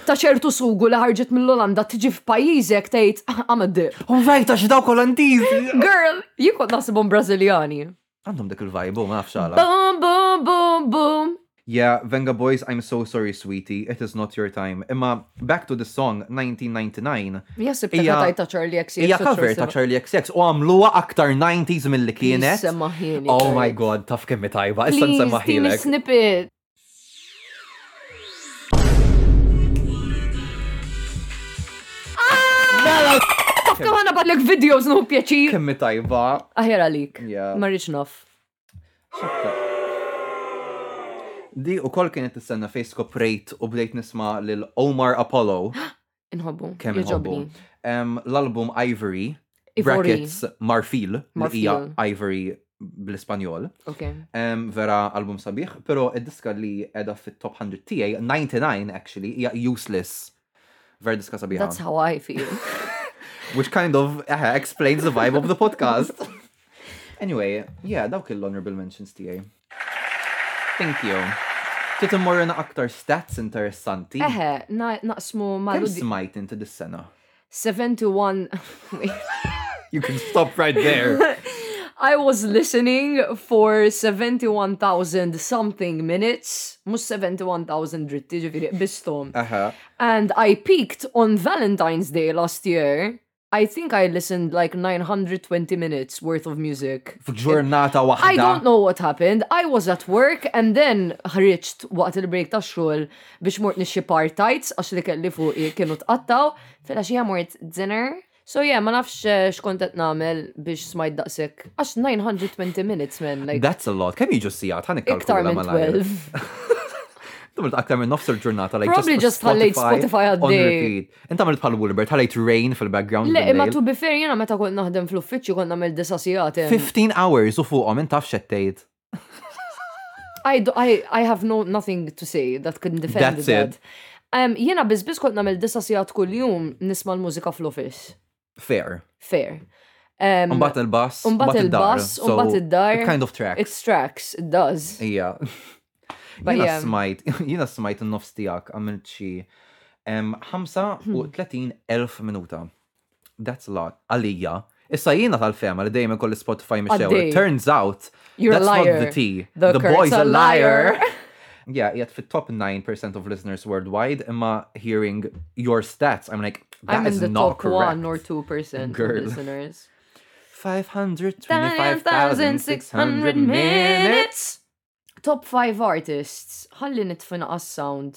Speaker 3: ta' ċertu sugu li ħarġet mill-Olanda tiġi f'pajjiżek tgħid "Ah, għamaddi.
Speaker 4: U vejta x'daw kolandizi.
Speaker 3: Girl, jien kont naħsibhom Brażiljani.
Speaker 4: Għandhom dik il-vajbu, ma nafx għala.
Speaker 3: Boom, boom, boom, boom.
Speaker 4: Yeah, Venga Boys, I'm so sorry, sweetie. It is not your time. Imma, back to the song, 1999.
Speaker 3: Jasib
Speaker 4: Hija-
Speaker 3: ta' ta' Charlie X.
Speaker 4: Ija cover ta' Charlie XX u għamluwa aktar 90s mill-li kienet.
Speaker 3: Semmaħini,
Speaker 4: Oh my
Speaker 3: Charlie.
Speaker 4: god, taf kemmi tajba. Issa
Speaker 3: Please, tini
Speaker 4: nsemmaħilek.
Speaker 3: snippet. Taf kem ħana badlek videos nuhu pjaċir.
Speaker 4: Kemmi tajba.
Speaker 3: Aħjar għalik.
Speaker 4: Yeah.
Speaker 3: Marriċ nof.
Speaker 4: Di u kol kienet t-senna fejsko prejt u bdejt nisma lil Omar Apollo.
Speaker 3: Inħobbu.
Speaker 4: Kemm inħobbu.
Speaker 3: Joġobni.
Speaker 4: Em, Um, L-album Ivory,
Speaker 3: Ivory.
Speaker 4: brackets Marfil, li hija
Speaker 3: Marfil.
Speaker 4: Ivory bl-Ispanjol.
Speaker 3: Ok.
Speaker 4: Em, vera album sabiħ, pero id-diska li edha fit-top 100 tiegħi, 99 actually, hija useless. Vera diska sabiħa.
Speaker 3: That's how I feel.
Speaker 4: which kind of uh, explains the vibe of the podcast. anyway, yeah, dawk il-honorable mentions tiegħi. Thank you. Titimorrina aktar stats interessanti.
Speaker 3: Eħe, na- naqsmu
Speaker 4: Kem
Speaker 3: mal-udi.
Speaker 4: smajt inti dis-sena?
Speaker 3: 71.
Speaker 4: You can stop right there.
Speaker 3: I was listening for 71,000 something minutes. Mux 71,000 dritti ġifiri, bistom.
Speaker 4: Aha.
Speaker 3: And I peaked on Valentine's Day last year. I think I listened like 920 minutes worth of music.
Speaker 4: F'ġurnata waħda.
Speaker 3: I don't know what happened. I was at work and then ħriġt waqt il-break ta' xogħol biex mort nixxi partajts għax li kelli fuq kienu tqattaw. Fela xija mort dinner. So yeah, ma nafx eh, xkont qed nagħmel biex smajt daqshekk. Għax 920 minutes man, like
Speaker 4: That's a lot. Kemm jiġu sijat? Ħanik
Speaker 3: iktar minn 12.
Speaker 4: Għamilt aktar minn nofs il-ġurnata. like,
Speaker 3: Probably just ħallejt Spotify
Speaker 4: on
Speaker 3: għaddej.
Speaker 4: repeat. Inti għamilt bħal Wilbert, ħallejt rain fil-background.
Speaker 3: Le, imma
Speaker 4: bil-lejl.
Speaker 3: to be fair, jena meta kont naħdem fl-uffiċċju kont nagħmel disa sigħat.
Speaker 4: 15 hours u fuqhom int taf xettejt.
Speaker 3: I, do, I, I have no nothing to say that can defend
Speaker 4: That's it.
Speaker 3: that. Um, jena bizbiz kont namel disa sijat kull jum nisma l-mużika fl-office.
Speaker 4: Fair.
Speaker 3: Fair. Um,
Speaker 4: Umbat il-bus.
Speaker 3: Umbat il-bus, umbat id-dar.
Speaker 4: It kind of track.
Speaker 3: It's tracks, it does.
Speaker 4: Ija.
Speaker 3: But um,
Speaker 4: Jina
Speaker 3: yeah.
Speaker 4: smajt, jina smajt il-nofs tijak għamilt xie Um,
Speaker 3: Hmm.
Speaker 4: 35,000 minuta. That's a lot. Għalija. Issa jina tal-fema li dejjem kolli Spotify mixew.
Speaker 3: Għaddej.
Speaker 4: It turns out
Speaker 3: You're a
Speaker 4: that's not
Speaker 3: liar.
Speaker 4: the tea.
Speaker 3: The Kurt's
Speaker 4: boy's
Speaker 3: a
Speaker 4: a liar.
Speaker 3: liar.
Speaker 4: yeah, yet fit top 9% of listeners worldwide. Imma hearing your stats, I'm like, that
Speaker 3: I'm
Speaker 4: is
Speaker 3: in the
Speaker 4: not
Speaker 3: top
Speaker 4: correct.
Speaker 3: one or two percent
Speaker 4: Girl.
Speaker 3: of listeners.
Speaker 4: 525,600 minutes.
Speaker 3: Top 5 artists. Ħalli nitfina għas-sound.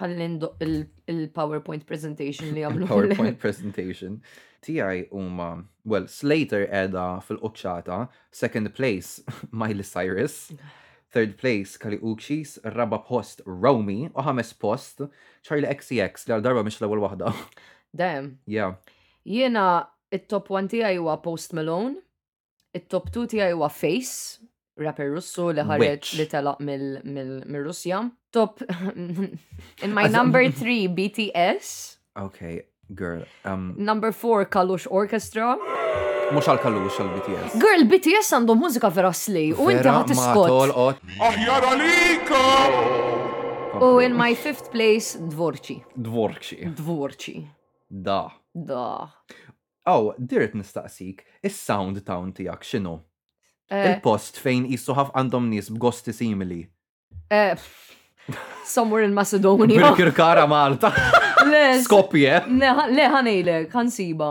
Speaker 3: Ħalli ndoq il- il-PowerPoint presentation li għamlu.
Speaker 4: PowerPoint presentation. Tijaj huma, well, Slater edha fil-qoċċata, second place Miley Cyrus, third place Kali Uchis, raba post Romy, u ħames post Charlie XCX li għal darba mhix l-ewwel waħda.
Speaker 3: Damn.
Speaker 4: Yeah.
Speaker 3: Jiena it-top 1 tiegħi huwa Post Malone, it-top 2 tiegħi huwa Face, rapper Russu li ħareġ
Speaker 4: Which?
Speaker 3: li telaq mill- mill- mill-Russja. Top in my
Speaker 4: As-
Speaker 3: number 3 BTS,
Speaker 4: Okay, girl. Um,
Speaker 3: number 4 Kalush Orchestra.
Speaker 4: mhux għal kalux għal BTS.
Speaker 3: Girl, BTS għandhom mużika vera slej u inti ħadd iskot.
Speaker 7: Aħjar għalika!
Speaker 3: U in my fifth place Dvorċi.
Speaker 4: Dvorkxi.
Speaker 3: Dvorċi.
Speaker 4: Da.
Speaker 3: Da.
Speaker 4: Oh, dirt nistaqsik, is-sound town tijak xinu?
Speaker 3: Eh,
Speaker 4: Il-post fejn jissu ħaf għandhom nis b'gosti simili.
Speaker 3: eh, Somewhere in Macedonia.
Speaker 4: Bil-kirkara Malta.
Speaker 3: Le,
Speaker 4: Skopje.
Speaker 3: Le, ħanejlek, ħansiba.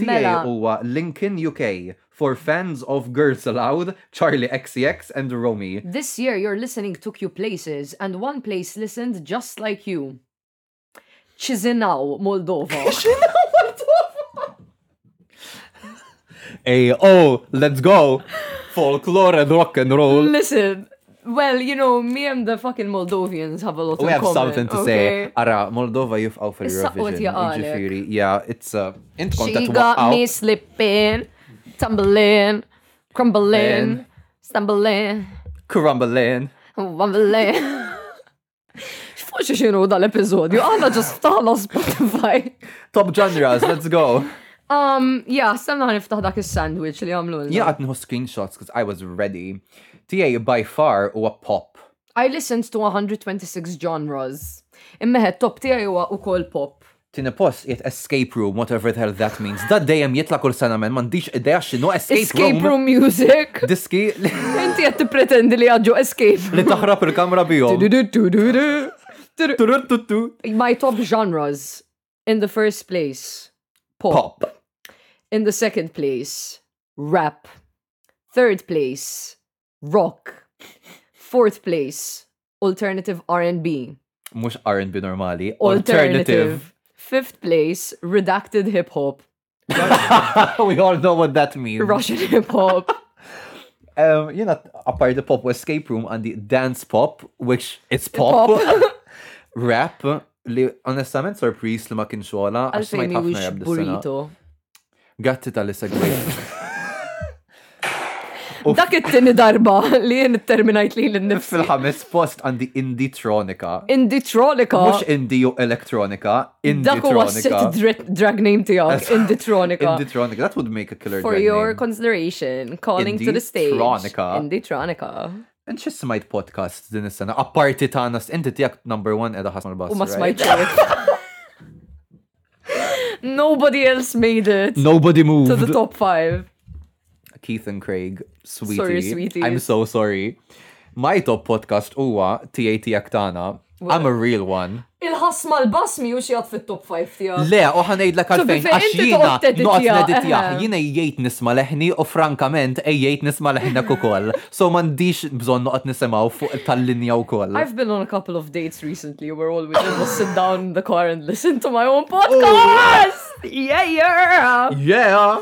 Speaker 4: Mela.
Speaker 3: Mela.
Speaker 4: huwa Lincoln UK for fans of Girls Aloud, Charlie XCX and Romy.
Speaker 3: This year your listening took you places and one place listened just like you. Chisinau, Moldova.
Speaker 4: Hey, oh, let's go. Folklore and rock and roll.
Speaker 3: Listen, well, you know, me and the fucking Moldovians have a lot
Speaker 4: We
Speaker 3: in
Speaker 4: have
Speaker 3: common.
Speaker 4: something to say.
Speaker 3: okay?
Speaker 4: Ara, Moldova jufqaw
Speaker 3: Issa qod
Speaker 4: fil-Eurovision.
Speaker 3: jaqalek.
Speaker 4: uh, Ġifiri, yeah, it's a... Int kont
Speaker 3: She
Speaker 4: qed
Speaker 3: got me
Speaker 4: waqgħu.
Speaker 3: slipping, tumbling, Crumbling, stumbling,
Speaker 4: Crumbling.
Speaker 3: wumbling. X'fuq xinu dal-episodju, għanna ġast taħla Spotify.
Speaker 4: Top genres, let's go.
Speaker 3: Um, ja, stemna niftaħ dak il-sandwich li għamlu l
Speaker 4: Yeah, I didn't have screenshots because I was ready. TA by far or pop.
Speaker 3: I listened to 126 genres. Immeħed top tiegħi huwa ukoll pop.
Speaker 4: Tina post it escape room, whatever the hell that means. Da dejjem jitla kull sena men mandiċ ideja x'inhu escape,
Speaker 3: Escape room music.
Speaker 4: Diski li
Speaker 3: Inti qed tippretendi li għadġu escape.
Speaker 4: li taħrab il-kamra bihom.
Speaker 3: Du-du-du-du-du. Du-du.
Speaker 4: Turuttutu.
Speaker 3: My top genres in the first place pop.
Speaker 4: Pop.
Speaker 3: In the second place rap. Third place rock. Fourth place alternative R&B.
Speaker 4: Mhux R&B normali.
Speaker 3: Alternative. Fifth place redacted hip hop.
Speaker 4: We all know what that means.
Speaker 3: Russian hip hop.
Speaker 4: Um, you know, apart the pop escape room and the dance pop, which it's pop. Rap li onestament surpris li ma kienx wala għax
Speaker 3: Għalfejn
Speaker 4: smajt ħafna
Speaker 3: mhuwiex
Speaker 4: rap dis-sena.
Speaker 3: burrito.
Speaker 4: Gatti tal-segwit.
Speaker 3: Dak it-tieni darba li jien terminajt li l-nifsi.
Speaker 4: Fil-ħames post għandi Indietronica.
Speaker 3: Inditronica.
Speaker 4: Mux indie u elektronika,
Speaker 3: Dak huwa set
Speaker 4: Indietronica.
Speaker 3: dra- drag name tiegħek, Inditronica.
Speaker 4: Indietronica, that would make a killer
Speaker 3: For
Speaker 4: drag
Speaker 3: your
Speaker 4: name.
Speaker 3: consideration, calling to the stage.
Speaker 4: Inditronica.
Speaker 3: Inditronica.
Speaker 4: And xis smajt podcast din is-sena, apparti ta' nas, inti tijak number one edha ħasma l-bass.
Speaker 3: U ma smajċek. Nobody else made it
Speaker 4: Nobody moved.
Speaker 3: to the top five.
Speaker 4: Keith and Craig, sweetie.
Speaker 3: Sorry, sweeties.
Speaker 4: I'm so sorry. My top podcast huwa TA tijak tana. I'm a real one.
Speaker 3: Il-ħasma l-bass mi u xijat fit-top 5 tiegħek.
Speaker 4: Le, u ħanejd la
Speaker 3: So,
Speaker 4: kalfejn,
Speaker 3: bife,
Speaker 4: għax
Speaker 3: inti
Speaker 4: jina
Speaker 3: toqgħod teditja,
Speaker 4: noqgħod neditjaħ,
Speaker 3: eħe.
Speaker 4: jina jgħid nisma leħni u frankament ejjejt nisma leħna ukoll. So m'għandix bżonn noqgħod nisimgħu fuq tal-linja wkoll.
Speaker 3: I've been on a couple of dates recently where all we did was sit down in the car and listen to my own
Speaker 4: Oh.
Speaker 3: podcast. Yeah, yeah.
Speaker 4: Yeah!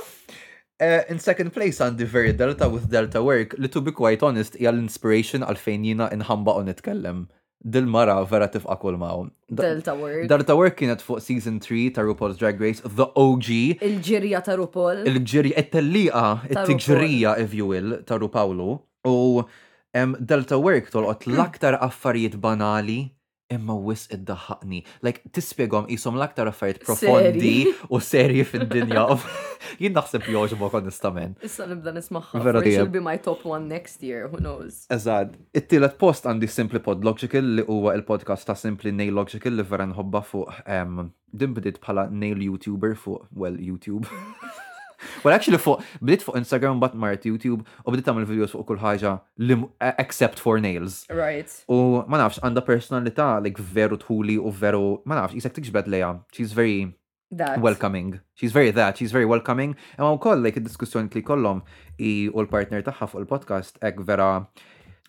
Speaker 4: Uh, in second place għandi Very Delta with Delta Work li to be quite honest hija l-inspiration għalfejn jina inħamba u nitkellem. Dil-mara vera tifqa kull maw. Da-
Speaker 3: Delta Work.
Speaker 4: Delta Work kienet fuq season 3 ta' RuPaul's Drag Race, The OG,
Speaker 3: Il-ġirja ta' Rupol.
Speaker 4: il-ġirja, it-tellija, it-tġrija, if you will, ta' RuPaulu. U em, Delta Work tolqot l-aktar affarijiet banali imma wis id-daħħaqni. Like, tispiegom jisom l-aktar affarijiet profondi u serji fid-dinja. Jien naħseb joġbok onestament.
Speaker 3: Issa nibda nismaħħa.
Speaker 4: Vera
Speaker 3: Vera
Speaker 4: dejjem.
Speaker 3: She'll be my top one next year, who knows.
Speaker 4: Eżad, it-tielet post għandi Simply Pod Logical li huwa il-podcast ta' Simply Nail Logical li vera nħobba fuq um, din bdiet bħala nail YouTuber fuq, well, YouTube. well, actually fuq, bdiet fuq Instagram bat mart YouTube u bdiet tagħmel videos fuq kull ħaġa li m- e, except for nails.
Speaker 3: Right.
Speaker 4: U ma nafx għandha personalità like veru tħuli u veru ma nafx jisek tiġbed lejha. She's very
Speaker 3: That.
Speaker 4: welcoming. She's very that, she's very welcoming. Imma wkoll like id-diskussjoni li kollhom i u l-partner tagħha fuq il-podcast hekk vera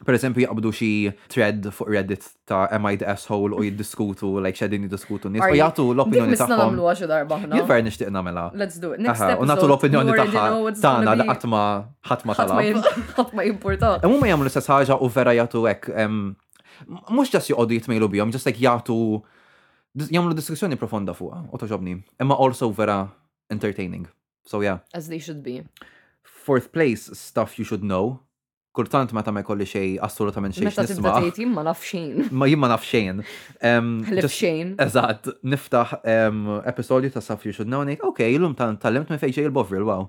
Speaker 4: Per eżempju, jaqbdu xi thread fuq Reddit ta' Am I the asshole u jiddiskutu, like xedin jiddiskutu nies u jagħtu l-opinjoni
Speaker 3: Dik misna
Speaker 4: tagħhom.
Speaker 3: namlu għaxu darba ħna.
Speaker 4: Jien vera nixtieq nagħmela.
Speaker 3: Let's do it. Next
Speaker 4: Aha,
Speaker 3: episode.
Speaker 4: U nagħtu l-opinjoni
Speaker 3: you already
Speaker 4: tagħha
Speaker 3: know what's gonna
Speaker 4: tagħna li
Speaker 3: be.
Speaker 4: qatt ma ħadd ma
Speaker 3: Ħadd ma
Speaker 4: talab.
Speaker 3: jim- ħadd ma jimporta.
Speaker 4: Imma jagħmlu l-istess ħaġa u vera jagħtu hekk em, mhux ġas joqogħdu jitmejlu bihom, ġas like jagħtu dis- jagħmlu diskussjoni profonda fuqha u toġobni. Imma also vera entertaining. So yeah.
Speaker 3: As they should be.
Speaker 4: Fourth place, stuff you should know. Kultant meta ma jkolli xej assolutament xejn
Speaker 3: Meta tibda
Speaker 4: nisma.
Speaker 3: tgħid jien ma naf xejn.
Speaker 4: Ma jien ma naf xejn. Em,
Speaker 3: Ħlif
Speaker 4: just-
Speaker 3: xejn.
Speaker 4: Eżatt, niftaħ em, episodju ta' stuff you should know ngħid, okay, illum ta- tal-limt minn fejn ġej il-Bovril, wow.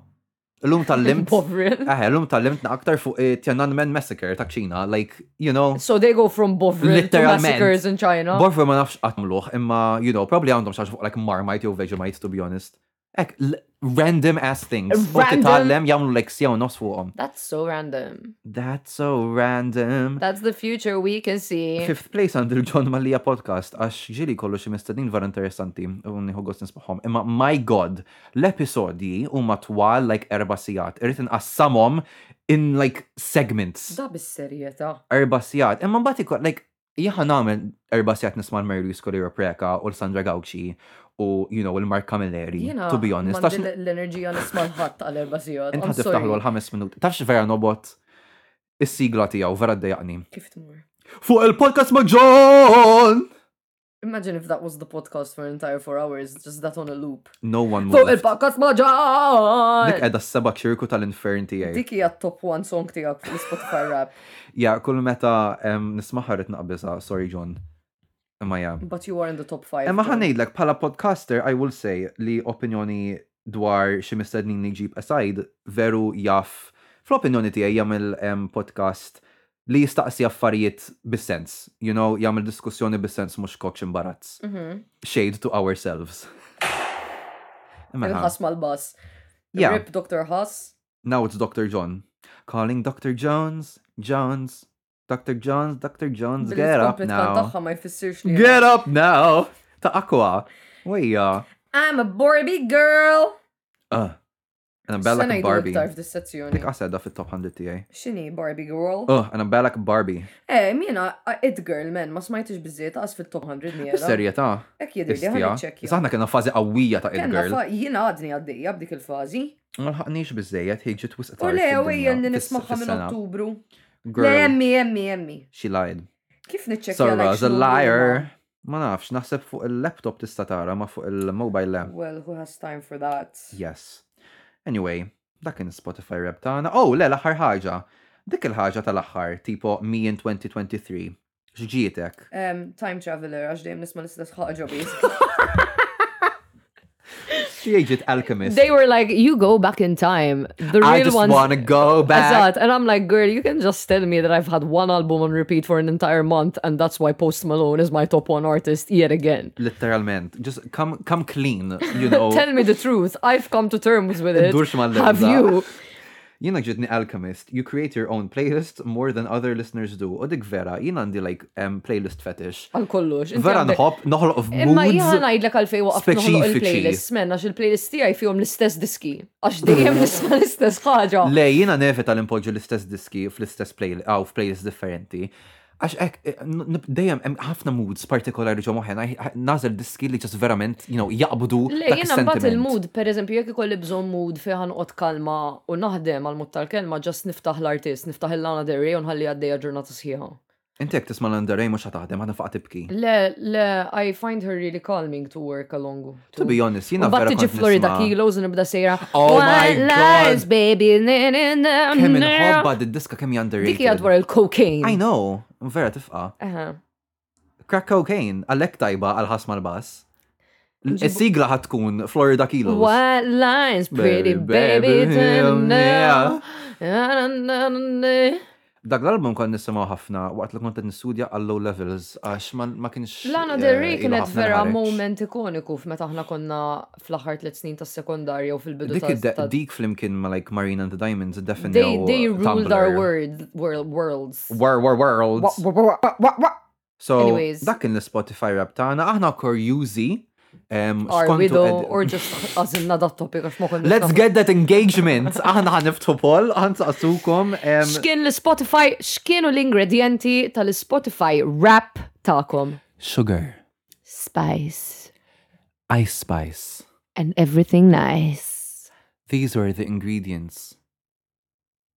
Speaker 4: Illum tal-limt.
Speaker 3: Bovril.
Speaker 4: Eh, illum tal-limt aktar fuq eh, Tiananmen Massacre ta' Ċina, like, you know.
Speaker 3: So they go from Bovril to
Speaker 4: Literalment.
Speaker 3: massacres in China.
Speaker 4: Borfu ma nafx għatmluħ, imma, you know, probably għandhom xaġ fuq like Marmite jew Vegemite, to be honest. Ek, l- random ass things. U
Speaker 3: Random.
Speaker 4: titgħallem jagħmlu leksija u nos fuqhom.
Speaker 3: That's so random.
Speaker 4: That's so random.
Speaker 3: That's the future we can see.
Speaker 4: Fifth place għandu John Mallia podcast, għax ġili kollu xi mistednin vera interessanti, u nieħu gost nisbaħom. Imma my god, l-episodji huma twal like erba' sigħat, irrid inqassamhom in like segments.
Speaker 3: Da bis-serjetà.
Speaker 4: erba sijat. Imma mbagħad ikun like jieħa nagħmel erba sijat nisma' l-Merlu Skolero Preka u l-Sandra Gawxi u you know il-Mark Camilleri.
Speaker 3: Jiena
Speaker 4: To be honest,
Speaker 3: mandi
Speaker 4: tax
Speaker 3: l-enerġija nisma' l-ħadd għal-erba' sigħat. I'm
Speaker 4: inħad
Speaker 3: sorry.
Speaker 4: tiftaħlu l-ħames minut. Tafx vera nobot is-sigla tiegħu vera ddejjaqni.
Speaker 3: Kif tmur?
Speaker 4: Fuq il-podcast ma' John!
Speaker 3: Imagine if that was the podcast for an entire four hours, just that on a loop.
Speaker 4: No one
Speaker 3: Fuq
Speaker 4: would.
Speaker 3: il-podcast
Speaker 4: Dik
Speaker 3: maġan!
Speaker 4: edha s-seba ċirku tal-infern tijaj.
Speaker 3: Dik hija top one song tiegħek fil-Spotify rap.
Speaker 4: Ja, kull meta em, nismaħa rrit naqbisa, sorry John. Imma ja.
Speaker 3: But you are in the top five.
Speaker 4: Imma
Speaker 3: though.
Speaker 4: ħanejdlek, pala podcaster, I will say li opinjoni dwar xi mistednin li jġib aside veru jaff fl-opinjoni tiegħi jagħmel em, podcast li jistaqsi affarijiet bis-sens. You know, jagħmel diskussjoni bis-sens mhux kokx imbarazz. Shade to ourselves. Imma ħa.
Speaker 3: Il-ħas mal-bass.
Speaker 4: Ja.
Speaker 3: Rip Dr. Hass.
Speaker 4: Now it's Dr. John. Calling Dr. Jones, Jones, Dr. Jones, Dr. Jones, get up
Speaker 3: Bil-iskompet
Speaker 4: now.
Speaker 3: tagħha ma jfissirx li.
Speaker 4: Get up now! Ta' akwa. Wejja.
Speaker 3: I'm a Barbie girl!
Speaker 4: Uh. Ana bella Barbie.
Speaker 3: Tarf dis-sezzjoni.
Speaker 4: Dik għaseda fit-top 100 tiegħi.
Speaker 3: X'inhi Barbie girl?
Speaker 4: Uh, ana bella Barbie.
Speaker 3: Eh, mina, it girl, man, ma smajtix bizziet għas fit-top 100 miera.
Speaker 4: Serjetà.
Speaker 3: Ek jidir li
Speaker 4: Istija.
Speaker 3: ħan
Speaker 4: Issa
Speaker 3: ċekja.
Speaker 4: aħna kena fażi qawwija ta'
Speaker 3: Kenna
Speaker 4: it-girl.
Speaker 3: fa' jina għadni għaddejja b'dik il-fazi.
Speaker 4: Ma lħaqniex biżejjed ħejġi twisq
Speaker 3: U le, u hija li nismaħħa minn ottubru. Le,
Speaker 4: Girl,
Speaker 3: emmi, emmi, emmi.
Speaker 4: she lied.
Speaker 3: Kif niċċekja? like,
Speaker 4: Sarah's a
Speaker 3: xnu
Speaker 4: liar. Ma nafx, naħseb fuq il-laptop tista' tara ma fuq il-mobile lamp.
Speaker 3: l-għamla? Well, who has time for that?
Speaker 4: Yes. Anyway, dak kien Spotify rap tagħna. Oh, le l-aħħar ħaġa. Dik il-ħaġa tal-aħħar, tipo me in 2023. X'ġietek?
Speaker 3: Um, time traveler, għax dejjem nisma l-istess ħaġa bis.
Speaker 4: X'jgħid alchemist?
Speaker 3: They were like, you go back in time. The
Speaker 4: I
Speaker 3: real
Speaker 4: just
Speaker 3: ones.
Speaker 4: wanna go back.
Speaker 3: Azat, and I'm like, girl, you can just tell me that I've had one album on repeat for an entire month, and that's why Post Malone is my top one artist yet again.
Speaker 4: Literalment. Just come, come clean, you know.
Speaker 3: Tell me the truth. I've come to terms with it.
Speaker 4: Durx mal-lebda.
Speaker 3: Have you?
Speaker 4: Jina ġidni alchemist. You create your own playlist more than other listeners do. U dik vera, jina għandi like um, playlist fetish.
Speaker 3: Għal kollox. inti
Speaker 4: Vera
Speaker 3: għandek-
Speaker 4: nħobb, noħloq of
Speaker 3: Imma jħan
Speaker 4: moods.
Speaker 3: għajdlek għalfej waqaf noħloq
Speaker 4: speċifiċi.
Speaker 3: il-playlist, men, għax il-playlist tijaj fihom l-istess diski. Għax dejjem nisma l-istess ħaġa.
Speaker 4: Le, jina nefe tal-impoġġu l-istess diski fl-istess playlist, għaw f-playlist differenti. Għax ek, eh, n- n- dejjem hemm ħafna moods partikolari ġo moħħen, nażel diski li ġas verament, you know, jaqbdu.
Speaker 3: Le,
Speaker 4: dak
Speaker 3: jena mbatt
Speaker 4: is-sentiment.
Speaker 3: il-mood, per eżempju, jek ikolli bżon mood fiħan qot kalma u naħdem għal mod tal-kelma, ġast niftaħ l-artist, niftaħ il-lana derri u nħalli għaddeja ġurnata sħiħa.
Speaker 4: Inti jek tisma l-underrej mux ħataħdem, ħana faqa tibki.
Speaker 3: Le, le, I find her really calming to work along.
Speaker 4: To be honest, jina
Speaker 3: Bat
Speaker 4: vera
Speaker 3: tiġi
Speaker 4: kont
Speaker 3: Florida
Speaker 4: nisma-
Speaker 3: kilos u nibda sejra.
Speaker 4: Oh my
Speaker 3: "White lies,
Speaker 4: God."
Speaker 3: baby. na, na, na,
Speaker 4: Kemm
Speaker 3: na."
Speaker 4: inħobba d-diska kemm underrated.
Speaker 3: Dik hija dwar
Speaker 4: I
Speaker 3: il-cocaine.
Speaker 4: know, vera tifqa.
Speaker 3: Aha.
Speaker 4: Crack cocaine, għalek tajba għal-ħasma l-bass. Is-sigla ħatkun Florida Kilos.
Speaker 3: White lines, pretty
Speaker 4: Baby,
Speaker 3: baby,
Speaker 4: baby,
Speaker 3: turn
Speaker 4: yeah.
Speaker 3: now. Na, na, na, na.
Speaker 4: Dak l-album kon nisimaw ħafna waqt li kont qed nistudja għal low levels għax ma- ma kienx. eh,
Speaker 3: Lana Del Rey
Speaker 4: ilu
Speaker 3: kienet
Speaker 4: ħafna
Speaker 3: vera
Speaker 4: nħareġ.
Speaker 3: moment ikoniku f'meta aħna konna fl-aħħar tliet snin tas sekondarja u fil-bidu
Speaker 4: Dik id-
Speaker 3: ta'
Speaker 4: dik flimkien ma like Marina and the Diamonds definitely.
Speaker 3: They, they ruled our world, world worlds.
Speaker 4: War, war,
Speaker 3: Wa-
Speaker 4: worlds.
Speaker 3: wa- wa- wa- wa- wa-
Speaker 4: So,
Speaker 3: Anyways.
Speaker 4: dak kien l-Spotify rap tagħna, aħna korjużi. em,
Speaker 3: Our
Speaker 4: skontu
Speaker 3: widow
Speaker 4: ed-
Speaker 3: or just għazinna dat topic għax ma konna.
Speaker 4: Let's get that engagement. Aħna ħaniftu poll, ħansaqsukom. em,
Speaker 3: Xkien l-Spotify, xkienu l-ingredienti tal-Spotify rap ta'kom.
Speaker 4: Sugar,
Speaker 9: Spice
Speaker 4: ice spice.
Speaker 9: and everything nice
Speaker 4: These were the ingredients.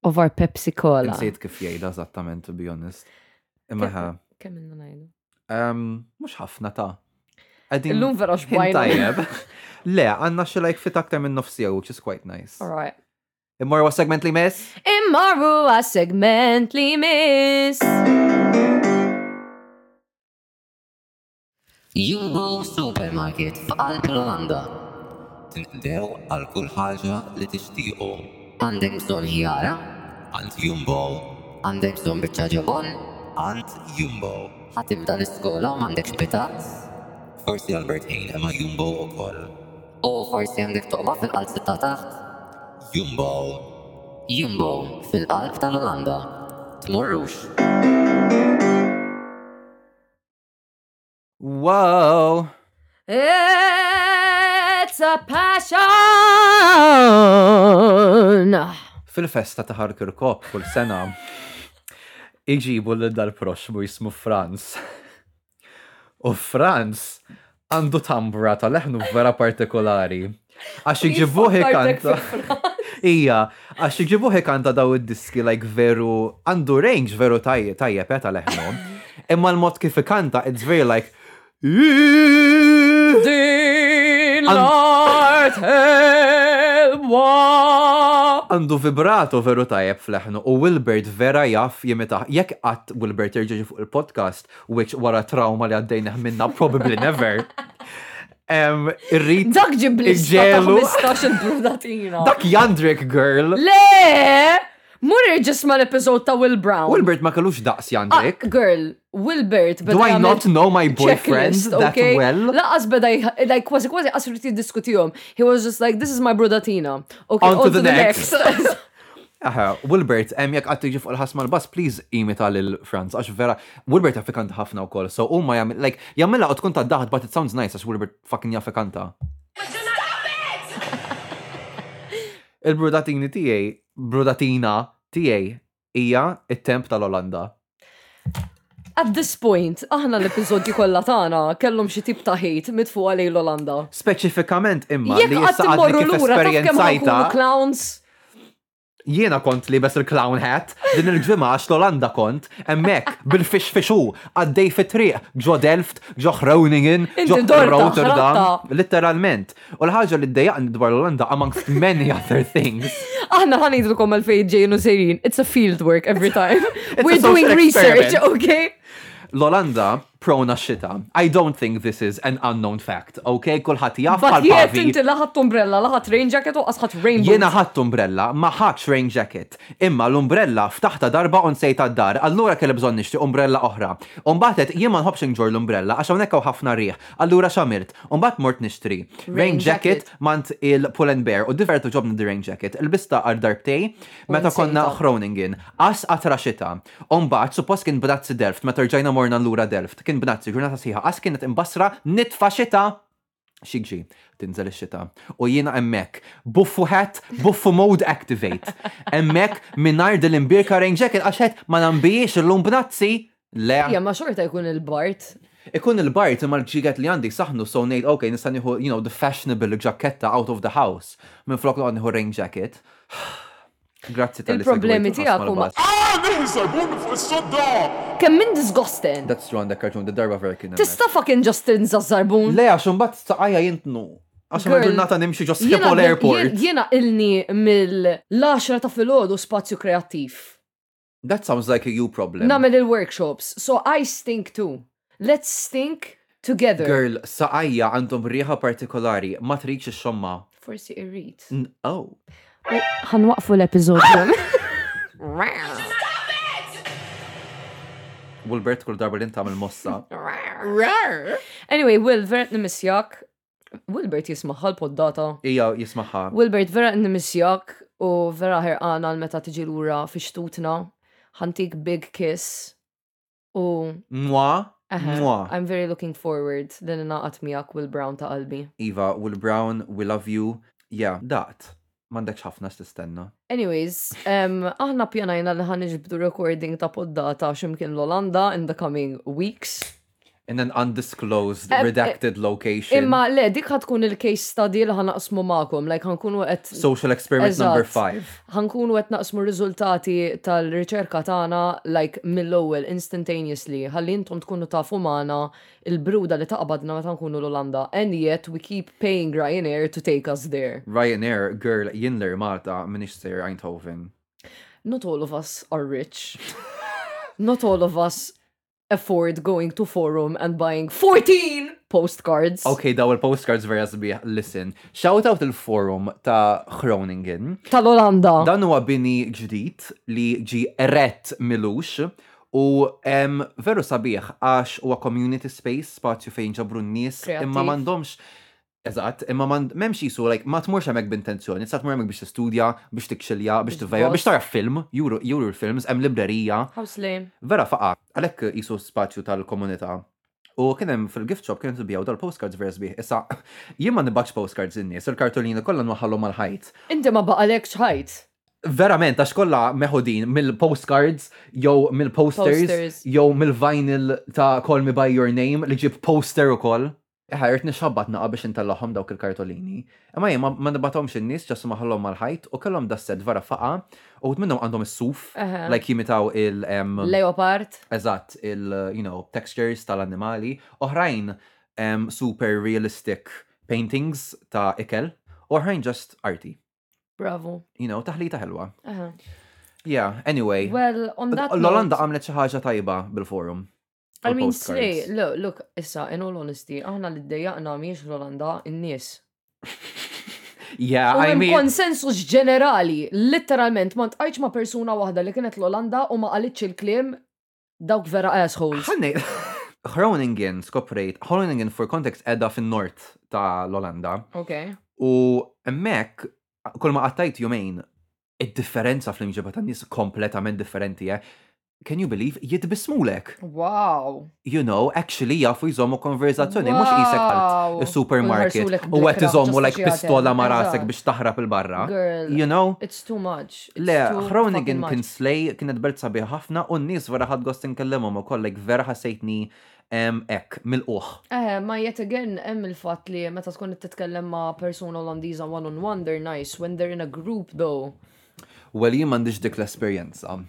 Speaker 9: of our Pepsi Cola.
Speaker 4: Nsejt kif jgħidha eżattament, to be honest. Imma
Speaker 3: Kif-
Speaker 4: ħa.
Speaker 3: Kemm minna najdu?
Speaker 4: Um, mux ħafna ta' Għadin
Speaker 3: Illum vera xbajna.
Speaker 4: Tajjeb. Le, għanna xilajk fit aktar minn nofsija, which is quite nice.
Speaker 3: Alright.
Speaker 4: Immorru għas segment li mess?
Speaker 3: Immarru għas segment li miss.
Speaker 1: Jumbo Supermarket f'Alp Rolanda.
Speaker 2: Tinqdew għal kull ħaġa li tixtiequ.
Speaker 1: Għandek bżonn ħjara,
Speaker 2: Ant Jumbo,
Speaker 1: għandek bżonn biċċa ġabon,
Speaker 2: Ant Jumbo.
Speaker 1: ħatibda l-iskola u m'għandekx bitat,
Speaker 2: Forsi Albert Hain imma Jumbo ukoll.
Speaker 1: u forsi għandek toqba fil-qalb ta' taħt.
Speaker 2: Jumbo.
Speaker 1: Jumbo fil-qalb tal-Olanda. Tmurrux.
Speaker 4: Wow!
Speaker 9: Eh.
Speaker 3: It's a passion.
Speaker 4: Fil-festa ta' Harker Cop kull sena. Iġibu l dal-proxmu jismu Franz. U Franz għandu tambra ta' leħnu vera partikolari. Għax iġibuħi kanta. Ija, għax iġibuħi kanta daw id-diski, like veru, eh, għandu range veru tajjeb, tajjeb, eta leħnu. Imma l-mod kif kanta, it's very like,
Speaker 3: Din l-art helwa.
Speaker 4: Għandu vibrato veru tajjeb fleħnu u Wilbert vera jaff jimita. Jekk għat Wilbert irġiġi fuq il-podcast, which wara trauma li għaddejna minna, probably never. Um, irrid
Speaker 3: Dak ġib li
Speaker 4: iġelu.
Speaker 3: 15 brudatina.
Speaker 4: Dak Jandrik girl.
Speaker 3: Le! Murri ġisma l-episod ta' Will Brown.
Speaker 4: Wilbert ma kellux daqs
Speaker 3: Ah,
Speaker 4: Jandrik.
Speaker 3: girl, Wilbert beda
Speaker 4: Do I
Speaker 3: jagħmel
Speaker 4: not know my boyfriend
Speaker 3: checklist,
Speaker 4: that
Speaker 3: okay?
Speaker 4: well?
Speaker 3: Laqas beda jħ- like kważi kważi qasru tiddiskutihom. He was just like this is my brodatina. Okay,
Speaker 4: On to the next.
Speaker 3: next.
Speaker 4: Aha, Wilbert, em jek għattu ġif l-ħasma l-bas, please imita l-Franz, għax vera, Wilbert affikant ħafna u koll, so u ma jgħamil, like, jgħamilla u tkun ta' daħad, but it sounds nice, għax Wilbert fucking jaffikanta. Il-brudatini tijaj, brudatina tijaj, ija it-temp tal-Olanda.
Speaker 3: At this point, aħna l-episodju kollha tagħna kellhom xi tip ta' hate mitfuq għalej l-Olanda.
Speaker 4: Speċifikament imma
Speaker 3: Jekk
Speaker 4: li
Speaker 3: qatt
Speaker 4: jissa
Speaker 3: immorru
Speaker 4: għadni kif
Speaker 3: lura taf kemm ħankunu
Speaker 4: esperienzajta,
Speaker 3: clowns.
Speaker 4: jiena kont li bes il-clown hat, din il-ġimma għax l-Olanda kont, emmek, bil-fix fixu, għaddej fit-triq, ġo Delft, ġo Groningen, ġo
Speaker 3: Inti dorta,
Speaker 4: Rotterdam,
Speaker 3: ħratta.
Speaker 4: literalment. U l-ħagġa li d-dejaqni dwar l-Olanda amongst many other things.
Speaker 3: Aħna ħanidilkom għal-fejn ġejnu sejrin. It's a field work every time.
Speaker 4: a
Speaker 3: We're doing
Speaker 4: social
Speaker 3: research,
Speaker 4: experiment.
Speaker 3: okay?
Speaker 4: L-Olanda prona xita. I don't think this is an unknown fact, ok? Kulħat jaff
Speaker 3: But yet inti
Speaker 4: għal-pavi.
Speaker 3: laħat umbrella, laħat rain jacket u qasħat rainbow.
Speaker 4: Jena ħadd umbrella, ma ħadx rain jacket. Imma l-umbrella ftaħta darba on sejta d-dar, allura kelli bżonn nixti umbrella oħra. Umbatet jien ma nħobx inġor l-umbrella għax hawnhekk hawn ħafna riħ. Allura xamirt, umbat mort nixtri.
Speaker 3: Rain
Speaker 4: Rain jacket
Speaker 3: jacket.
Speaker 4: mant il-pull and bear u divertu ġobni di rain jacket. Il-bista għar darbtej meta konna
Speaker 3: nsejta.
Speaker 4: Groningen. As għatra xita. Umbat suppost kien bnazzi Delft, meta rġajna morna l-lura Delft. Kien bnazzi ġurnata sħiħa. As kienet imbasra nitfa xita xikġi, tinżel ix-xita. U jiena emmek, buffu hat, buffu mode activate. Emmek, minnar dil-imbirka rain jacket, għaxet ma nambijiex l-lum b'nazzi.
Speaker 3: Ja,
Speaker 4: Le,
Speaker 3: ma xorta jkun il-Bart.
Speaker 4: ikun il-bart imma l-ġiget li għandi saħnu so nejt, ok, nistan nieħu, you know, the fashionable ġaketta out of the house. Minn flok noqgħod nieħu rain jacket. Grazzi tal
Speaker 3: Il-problemi tiegħek huma. Kemm min disgusting.
Speaker 4: That's true on the cartoon, the darba vera kien. hemmhekk.
Speaker 3: Tista' fucking Justin Zazzarbun.
Speaker 4: Le, għax mbagħad saqajja jintnu. Għax ma
Speaker 3: Girl,
Speaker 4: ġurnata nimxi ġo
Speaker 3: Jiena
Speaker 4: Schiphol
Speaker 3: bil-
Speaker 4: Airport.
Speaker 3: jien- Jiena ilni mill-10 ta' filgħodu spazju kreattiv.
Speaker 4: That sounds like a you problem.
Speaker 3: Namel il-workshops. So I stink too. Let's stink together.
Speaker 4: Girl, saqajja għandhom rieħa partikolari, ma triċ xomma.
Speaker 3: Forsi irrit.
Speaker 4: N- Oh.
Speaker 3: Ħanwaqfu l-episodju.
Speaker 4: Wilbert kull darba li ntamil mossa.
Speaker 3: Anyway, Will, vera nimisjak. Wilbert jismaħħal poddata.
Speaker 4: Ija jismaħħa.
Speaker 3: Wilbert, vera nimisjak u vera ħerqana l-meta tiġi lura fi xtutna. Ħantik big kiss. U
Speaker 4: Mwa,
Speaker 3: Aha,
Speaker 4: mwa.
Speaker 3: I'm very looking forward li naqat miegħek Will Brown ta' qalbi.
Speaker 4: Iva, Will Brown, we love you. Yeah, dat. Mandek ħafna s-tistenna.
Speaker 3: Anyways, um, aħna pjanajna li ħan iġbdu recording ta' poddata ximkien l-Olanda in the coming weeks.
Speaker 4: In an undisclosed,
Speaker 3: Em, eh,
Speaker 4: redacted location.
Speaker 3: Imma le, dik ħatkun il-case study li ħan naqsmu ma'kom, like ħankunu qed
Speaker 4: Social experiment number
Speaker 3: Eżatt.
Speaker 4: five.
Speaker 3: ħankunu qed naqsmu r-riżultati tal-riċerka tagħna like mill-ewwel instantaneously ħalli intom tkunu tafu magħna il-bruda li taqbadna meta nkunu l-Olanda and yet we keep paying Ryanair to take us there.
Speaker 4: Ryanair, girl, jinler Malta, minix ser Eindhoven.
Speaker 3: Not all of us are rich. Not all of us afford going to forum and buying 14 postcards.
Speaker 4: Ok, daw il-postcards vera sbieħ. Listen, shout out il-forum ta' Groningen.
Speaker 3: Tal-Olanda.
Speaker 4: Dan huwa bini ġdid li ġi eret milux u em, veru sabiħ għax huwa community space, spazju fejn ġabru n-nies, imma
Speaker 3: Kreativ.
Speaker 4: m'għandhomx Eżatt, imma man memx jisu, like, ma tmurx hemmhekk b'intenzjoni, sa tmur hemmhekk biex tistudja, biex tikxilja, biex tivvejja, biex tara film, juru juru l-films, hemm librerija,
Speaker 3: How's lame?
Speaker 4: vera faqa, għalhekk jisu spazju tal-komunità. U kien hemm fil-gift shop kien tibjaw dal-postcards vers bih. Issa, jien ma nibbax postcards in-nies, il-kartolina kollha nwaħħalhom mal ħajt
Speaker 3: Inti ma baqalek ċħajt.
Speaker 4: verament, għax kolla meħodin mill-postcards, jew mill-posters,
Speaker 3: Posters.
Speaker 4: jew mill-vinyl ta' Call Me By Your Name li ġib poster u koll. Eħa, rrit nixħabbat naqa biex intallaħom dawk il-kartolini. Imma jien ma nibatomx in-nies ġas maħallhom mal-ħajt u kellhom dasset vera faqa u għut minnhom għandhom is-suf,
Speaker 3: Aha.
Speaker 4: like jimitaw il- em,
Speaker 3: Leopard.
Speaker 4: eżatt il-you know, textures tal-annimali. Oħrajn um, super realistic paintings ta' ikel, oħrajn just arty.
Speaker 3: Bravo.
Speaker 4: You know, taħlita ħelwa.
Speaker 3: Aha.
Speaker 4: Yeah, anyway.
Speaker 3: Well, on that
Speaker 4: L-Olanda
Speaker 3: note-
Speaker 4: gamlet xi ħaġa tajba bil-forum.
Speaker 3: I mean,
Speaker 4: postcards.
Speaker 3: slay, look, look, issa, in all honesty, aħna li d-dejjaqna miex l-Olanda, in-nies.
Speaker 4: Yeah,
Speaker 3: U
Speaker 4: I
Speaker 3: hemm
Speaker 4: mean,
Speaker 3: konsensus ġenerali, literalment, ma tqajtx ma' persuna waħda li kienet l-Olanda u ma qalitx il-klim dawk vera assholes.
Speaker 4: ħanni. Groningen skoprejt, Groningen for context edha fin-nort ta' l-Olanda.
Speaker 3: Ok.
Speaker 4: U emmek, kol ma għattajt jomejn, id-differenza fl-imġiba ta' nis kompletament differenti, eh? Can you believe? Jitbismulek.
Speaker 3: Wow.
Speaker 4: You know, actually jafu jżommu konverzazzjoni, mux jisek
Speaker 3: Wow.
Speaker 4: għalt
Speaker 3: U
Speaker 4: supermarket
Speaker 3: jħarsulek
Speaker 4: u għet
Speaker 3: bil-kra
Speaker 4: jżommu
Speaker 3: ġusta
Speaker 4: like
Speaker 3: xi ħadd
Speaker 4: pistola
Speaker 3: jgħid.
Speaker 4: ma rasek
Speaker 3: Eżatt.
Speaker 4: biex taħrab il-barra.
Speaker 3: Girl.
Speaker 4: You know?
Speaker 3: It's too much. It's
Speaker 4: Le,
Speaker 3: too
Speaker 4: Groningen
Speaker 3: fucking
Speaker 4: kien
Speaker 3: much.
Speaker 4: slej, kienet belt sabiħ ħafna u n-nis vera ħad gost nkellimhom ukoll like vera ħasejtni em, ek, mill-uħ.
Speaker 3: Eh, ma yet again, hemm il-fatt li meta tkun titkellem ma' persuna Olandiża one on one, they're nice. When they're in a group though,
Speaker 4: Well, jien m'għandix dik l-esperjenza.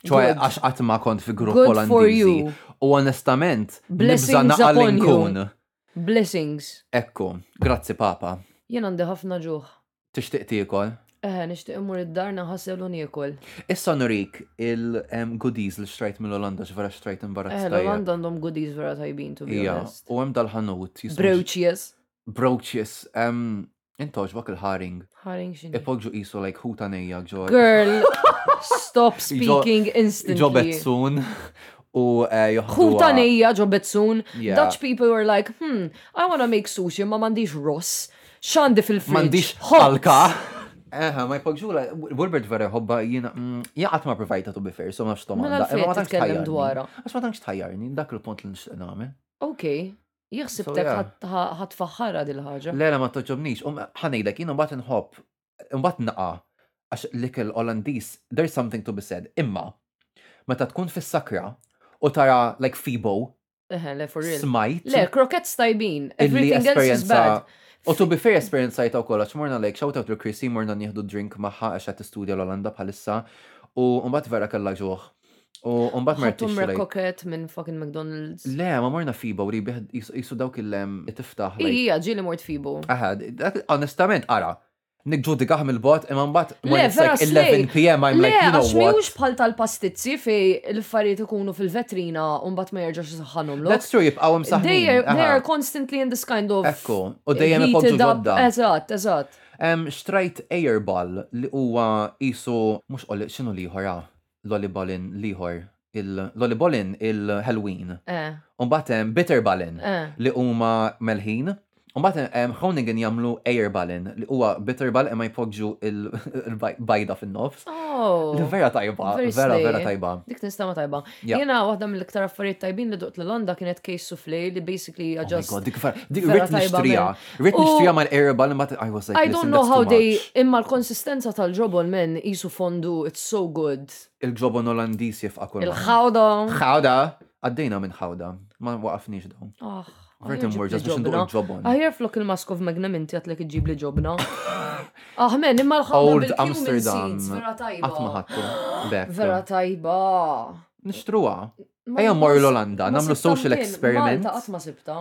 Speaker 4: ċoħe
Speaker 3: Good.
Speaker 4: għax qatt ma kont fi grupp
Speaker 3: Good for
Speaker 4: olandizi.
Speaker 3: you.
Speaker 4: U onestament, nibża
Speaker 3: Blessings
Speaker 4: naqal
Speaker 3: upon you.
Speaker 4: inkun.
Speaker 3: blessings.
Speaker 4: Ekku, grazzi papa.
Speaker 3: Jien għandi ħafna ġuħ.
Speaker 4: Tixtieq tiekol.
Speaker 3: Eh, nixtieq imur id-dar naħassel u niekol.
Speaker 4: Issa nurik il-goodies li xtrajt mill-Olanda x'vera xtrajt
Speaker 3: Eh,
Speaker 4: imbarazz
Speaker 3: l-Olanda għandhom goodies vera tajbin, to be
Speaker 4: Ija,
Speaker 3: honest.
Speaker 4: u hemm dal-ħanut. jismu-
Speaker 3: Brooches.
Speaker 4: Brooches. em, Intoġbak il-ħaring.
Speaker 3: Ħaring xini.
Speaker 4: Ipoġġu isu like ħutanejja ġor.
Speaker 3: Girl, stop speaking instantly.
Speaker 4: Ġobetzun u eh, joħdu.
Speaker 3: Ħutanija ġobetzun.
Speaker 4: Yeah.
Speaker 3: Dutch people were like, hmm, I wanna make sushi, ma mandiġ ross. Xandi fil-fridge.
Speaker 4: Mandiġ
Speaker 3: Hops.
Speaker 4: ħalka. Eħe, ma jpogġula, Wilbert vera jħobba jina, mm, jaqat ma provajta tu bifer, so ma xtom
Speaker 3: Mela
Speaker 4: għanda.
Speaker 3: l-fejn titkellem dwarha.
Speaker 4: Għax ma tanċ tħajjarni, dak il-punt li nxtaq namen.
Speaker 3: Ok, jieħsib
Speaker 4: So,
Speaker 3: tek
Speaker 4: yeah.
Speaker 3: ħat- ħa- ħatfaħħara dil-ħagġa.
Speaker 4: Le, le, ma toġobnix, um, ħanejlek, jina mbat nħobb, mbat naqa, għax l-ikel Olandis, there's something to be said, imma, meta tkun fis-sakra, u tara, like, Fibo,
Speaker 3: Eħe, le, for real.
Speaker 4: smajt.
Speaker 3: Le, croquettes tajbin.
Speaker 4: illi
Speaker 3: Everything else is
Speaker 4: esperienza.
Speaker 3: bad.
Speaker 4: U to be fair esperienza jtaw kolla, xmorna lejk, shout out to Chrissy, morna nieħdu drink maħħa għax għat studja l-Olanda bħalissa, u mbagħad vera kalla ġuħ. U mbagħad
Speaker 3: Ħattum
Speaker 4: martix
Speaker 3: croquette minn fucking McDonald's.
Speaker 4: Le, ma morna fiba u ribi jisu dawk il-lem tiftaħ. like-
Speaker 3: Ija, ġili mort fibu.
Speaker 4: Aha, dak- honestament, ara, nikġu digaħ mill-bot, imma mbagħad
Speaker 3: Le,
Speaker 4: when it's
Speaker 3: vera
Speaker 4: like 11 p.m. I'm like, you know
Speaker 3: miux
Speaker 4: what?
Speaker 3: bħal tal-pastizzi fej il-fariet ikunu fil-vetrina un bat ma jerġax saħħanom l
Speaker 4: That's true, jibqaw
Speaker 3: They are, they are
Speaker 4: imsaħħin.
Speaker 3: constantly in this kind of
Speaker 4: Ekku, u dejjem
Speaker 3: heated
Speaker 4: ipoġġu
Speaker 3: up-
Speaker 4: ġodda.
Speaker 3: Eżatt, eżatt.
Speaker 4: Um, Strajt Airball li huwa isu mhux qolli x'inhu liħor ah, Lollibolin liħor il-Lollibolin il-Halloween.
Speaker 3: Eh,
Speaker 4: Umbagħad hemm Bitterbalin
Speaker 3: Eh.
Speaker 4: li huma melħin. Umbagħad hemm Groningen jagħmlu Airballin li huwa Bitterball imma jpoġġu il- il-bajda fin-nofs.
Speaker 3: Oh.
Speaker 4: Li Vera tajba,
Speaker 3: very
Speaker 4: vera
Speaker 3: slay.
Speaker 4: vera tajba. Oh
Speaker 3: Dik nista ma tajba.
Speaker 4: Yeah.
Speaker 3: Jena waħda mill-iktar affarijiet tajbin li duqt l-Londa kienet case soufflé li basically
Speaker 4: Oh
Speaker 3: I
Speaker 4: my
Speaker 3: just
Speaker 4: god, dik vera, dik
Speaker 3: vera
Speaker 4: rit
Speaker 3: tajba
Speaker 4: nixtrija.
Speaker 3: mela.
Speaker 4: Rit
Speaker 3: U-
Speaker 4: nixtrija mal-Airball imma I was like,
Speaker 3: I
Speaker 4: listen,
Speaker 3: don't know
Speaker 4: that's
Speaker 3: how
Speaker 4: too
Speaker 3: they
Speaker 4: much.
Speaker 3: imma l-konsistenza tal-ġobol men isu fondu it's so good.
Speaker 4: Il-ġobon Olandiż jifqa' kull marra.
Speaker 3: Il-ħawda.
Speaker 4: ħawda, għaddejna minn ħawda, ma waqafniex daw.
Speaker 3: Ah,
Speaker 4: Vertim
Speaker 3: ħajja ġib
Speaker 4: words,
Speaker 3: li
Speaker 4: għax biex nduq
Speaker 3: ġobna.
Speaker 4: il-ġobon.
Speaker 3: Ħajja flok il-maskov magnum inti għatlek iġib li ġobna. Aħmen, imma l-ħawda
Speaker 4: Old
Speaker 3: bil-cumin
Speaker 4: Amsterdam.
Speaker 3: seeds, Vera tajba.
Speaker 4: Għatma ħattu.
Speaker 3: Iva. Vera
Speaker 4: Bek.
Speaker 3: tajba.
Speaker 4: Nishtruwa.
Speaker 3: Ma-
Speaker 4: Ejja
Speaker 3: ma-
Speaker 4: morru l-Olanda,
Speaker 3: ma
Speaker 4: namlu
Speaker 3: sibta
Speaker 4: social
Speaker 3: mkien,
Speaker 4: experiment.
Speaker 3: Malta qatt ma sibta.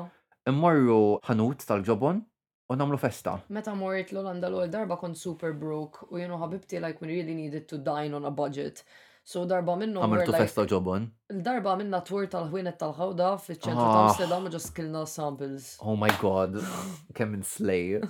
Speaker 4: Immorru ħanut tal-ġobon u namlu festa.
Speaker 3: Meta mort l-Olanda l-ol darba kont super broke u jenu ħabibti like we really needed to dine on a budget. So darba minnu
Speaker 4: Għamiltu festa u ġobon.
Speaker 3: L-darba minna twir tal-ħwienet tal-ħawda fiċ-ċentru ta'
Speaker 4: Ah.
Speaker 3: Amsterdam u just kilna samples.
Speaker 4: Oh my god, kemm inslej.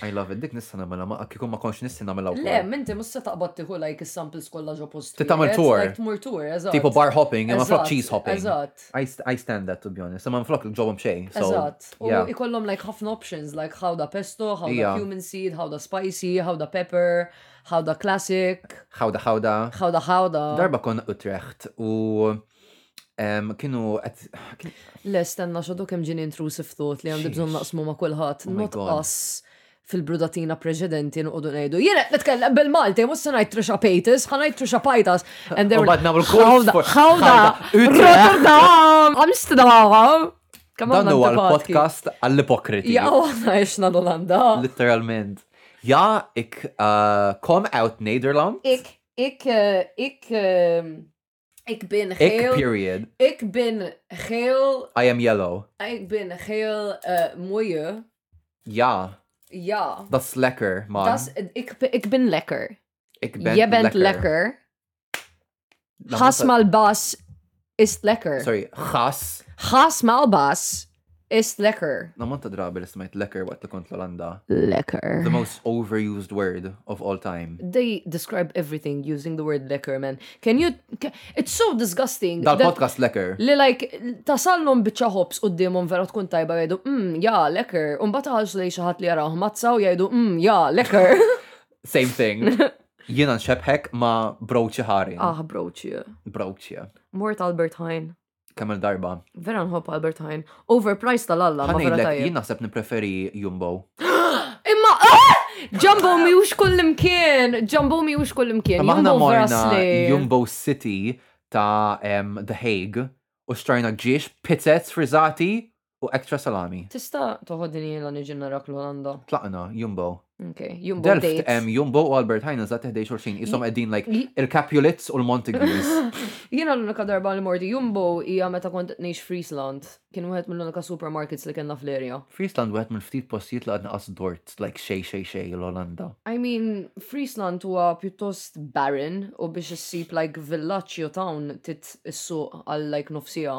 Speaker 4: I love it, dik nista namela ma kikum ma konx nista namela u
Speaker 3: Le, minti mus se taqbad tiħu like is-samples kollha ġo post.
Speaker 4: Ti tagħmel tour.
Speaker 3: Like tmur tour, eżatt.
Speaker 4: Tipo bar hopping, imma flok
Speaker 3: Eżatt,
Speaker 4: cheese hopping.
Speaker 3: Eżatt.
Speaker 4: I, st I stand that to be honest, imma flok il-ġobon bxej. so,
Speaker 3: Eżatt. U
Speaker 4: yeah.
Speaker 3: ikollhom like ħafna options like ħawda pesto, ħawda
Speaker 4: Ija.
Speaker 3: cumin seed, ħawda spicy, ħawda pepper, ħawda classic,
Speaker 4: Ħawda ħawda.
Speaker 3: ħawda ħawda.
Speaker 4: Darba kon Utrecht u em, kienu għet.
Speaker 3: Le, stenna xadu kem ġin intrusive thought li għandi bżon
Speaker 4: Jeez.
Speaker 3: naqsmu ma kullħat.
Speaker 4: Oh my
Speaker 3: Not
Speaker 4: God.
Speaker 3: us fil-brudatina preġedenti nqodu ngħidu. Jiena qed nitkellem bil-Malti, mhux se ngħid Trisha Paytas, ħa ngħid Trisha Paytas. And they
Speaker 4: U
Speaker 3: were
Speaker 4: bad nagħmlu kurs
Speaker 3: "Ħawda,
Speaker 4: for-
Speaker 3: ħawda,
Speaker 4: ħawda, Utrecht."
Speaker 3: Rotterdam, Amsterdam. Kemm
Speaker 4: Dan
Speaker 3: għandna
Speaker 4: huwa
Speaker 3: antipatki.
Speaker 4: l-podcast għall-ipokriti.
Speaker 3: Ja, oh, għandna jxna l-Olanda.
Speaker 4: Literalment. Ja, ik eh, kom out Nederland.
Speaker 3: Ik, ik, eh, ik, eh, Ik ben
Speaker 4: Ik
Speaker 3: heel...
Speaker 4: period.
Speaker 3: Ik ben heel...
Speaker 4: I am yellow.
Speaker 3: Ik ben heel eh mooie.
Speaker 4: Ja,
Speaker 3: Ja.
Speaker 4: dat is lekker, man.
Speaker 3: Das, ik, ik ben lekker.
Speaker 4: ik ben
Speaker 3: Je bent lekker.
Speaker 4: Dan was het-
Speaker 3: Gasmal bas is lekker.
Speaker 4: Sorry, gas.
Speaker 3: Gasmal bas is lekker.
Speaker 4: Dan want drabi li smajt lekker waqt li kont l-Olanda. The
Speaker 3: Lekker.
Speaker 4: most overused word of all time.
Speaker 3: They describe everything using the word lekker, man. Can you... ca- it's so disgusting. that-
Speaker 4: Dal-podcast lekker.
Speaker 3: Li like, tasallum bieċa hops u d-dimum vera tkun tajba jgħidu, mmm, ja, lekker. Un bata ħalx li xaħat li jaraw mazza u jgħidu, mmm, ja, lekker.
Speaker 4: Same thing. Jina nxebħek ma broċi ħarin.
Speaker 3: ah, broċi.
Speaker 4: Broċi.
Speaker 3: Mort Albert Hein.
Speaker 4: Kamel darba.
Speaker 3: Vera nħobb Albert Hein. Overpriced tal-alla, ma vera
Speaker 4: Ħanejlek,
Speaker 3: tajjeb.
Speaker 4: jina sepp nipreferi jumbo.
Speaker 3: Imma, ah! Jumbo mi ux kullimkien! Jumbo mi ux kullimkien!
Speaker 4: Ma aħna
Speaker 3: Jumbo vera
Speaker 4: morna
Speaker 3: slej.
Speaker 4: Jumbo City ta' em, The Hague u xtrajna ġiex pizzets frizzati u extra salami.
Speaker 3: Tista toħodini l niġinna rak l-Olanda.
Speaker 4: Tlaqna, Jumbo.
Speaker 3: Ok, Jumbo
Speaker 4: Delft
Speaker 3: dates.
Speaker 4: em Jumbo u Albert Heijn iżat teħdej xorxin isom għeddin like
Speaker 3: Li-
Speaker 4: il-Capulets u l-Montagues.
Speaker 3: Jena l-unika darba li morti Jumbo hija meta kont nejx Friesland. Kien wieħed mill-unika supermarkets li kellna fl-erja.
Speaker 4: Friesland u għed minn ftit postijiet li għadna qas dort, like xej xej xej l-Olanda.
Speaker 3: I mean, Friesland huwa pjuttost barren u biex issib like villaċ jew town tit issuq għal like nofsija.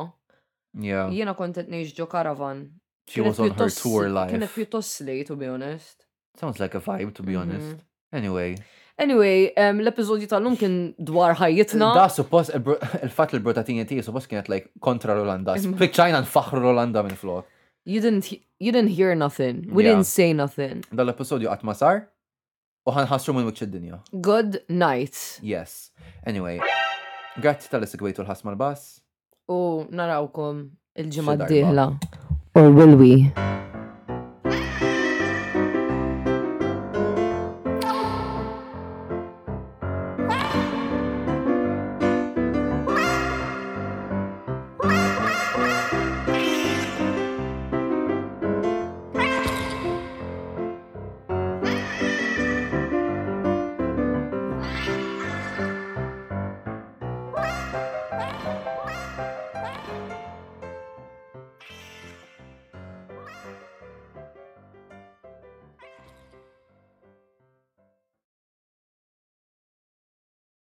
Speaker 4: Yeah,
Speaker 3: Jiena kont qed ngħix ġo caravan.
Speaker 4: she was on her tour
Speaker 3: Kienet Mhm.
Speaker 4: life.
Speaker 3: pjuttost slej, to be honest.
Speaker 4: Sounds like a vibe, to be honest. Anyway,
Speaker 3: Anyway, um, l-episodju tal-lum kien dwar ħajjitna.
Speaker 4: da suppost il-bru- il-fat li l-Brotatini ti suppost kienet like kontra l-Olanda. Spiċajna nfaħru l-Olanda minn flok.
Speaker 3: You didn't, he- you didn't hear nothing. We
Speaker 4: Yeah.
Speaker 3: didn't say nothing.
Speaker 4: Dal-episodju għat ma sar u ħanħassru minn wiċċ id-dinja.
Speaker 3: Good night.
Speaker 4: Yes. Anyway, grazzi tal-segwejtu l-ħasma l-bass.
Speaker 3: Oh, U narawkom il-ġimma
Speaker 4: Xi darba.
Speaker 3: d-dihla. Or will we?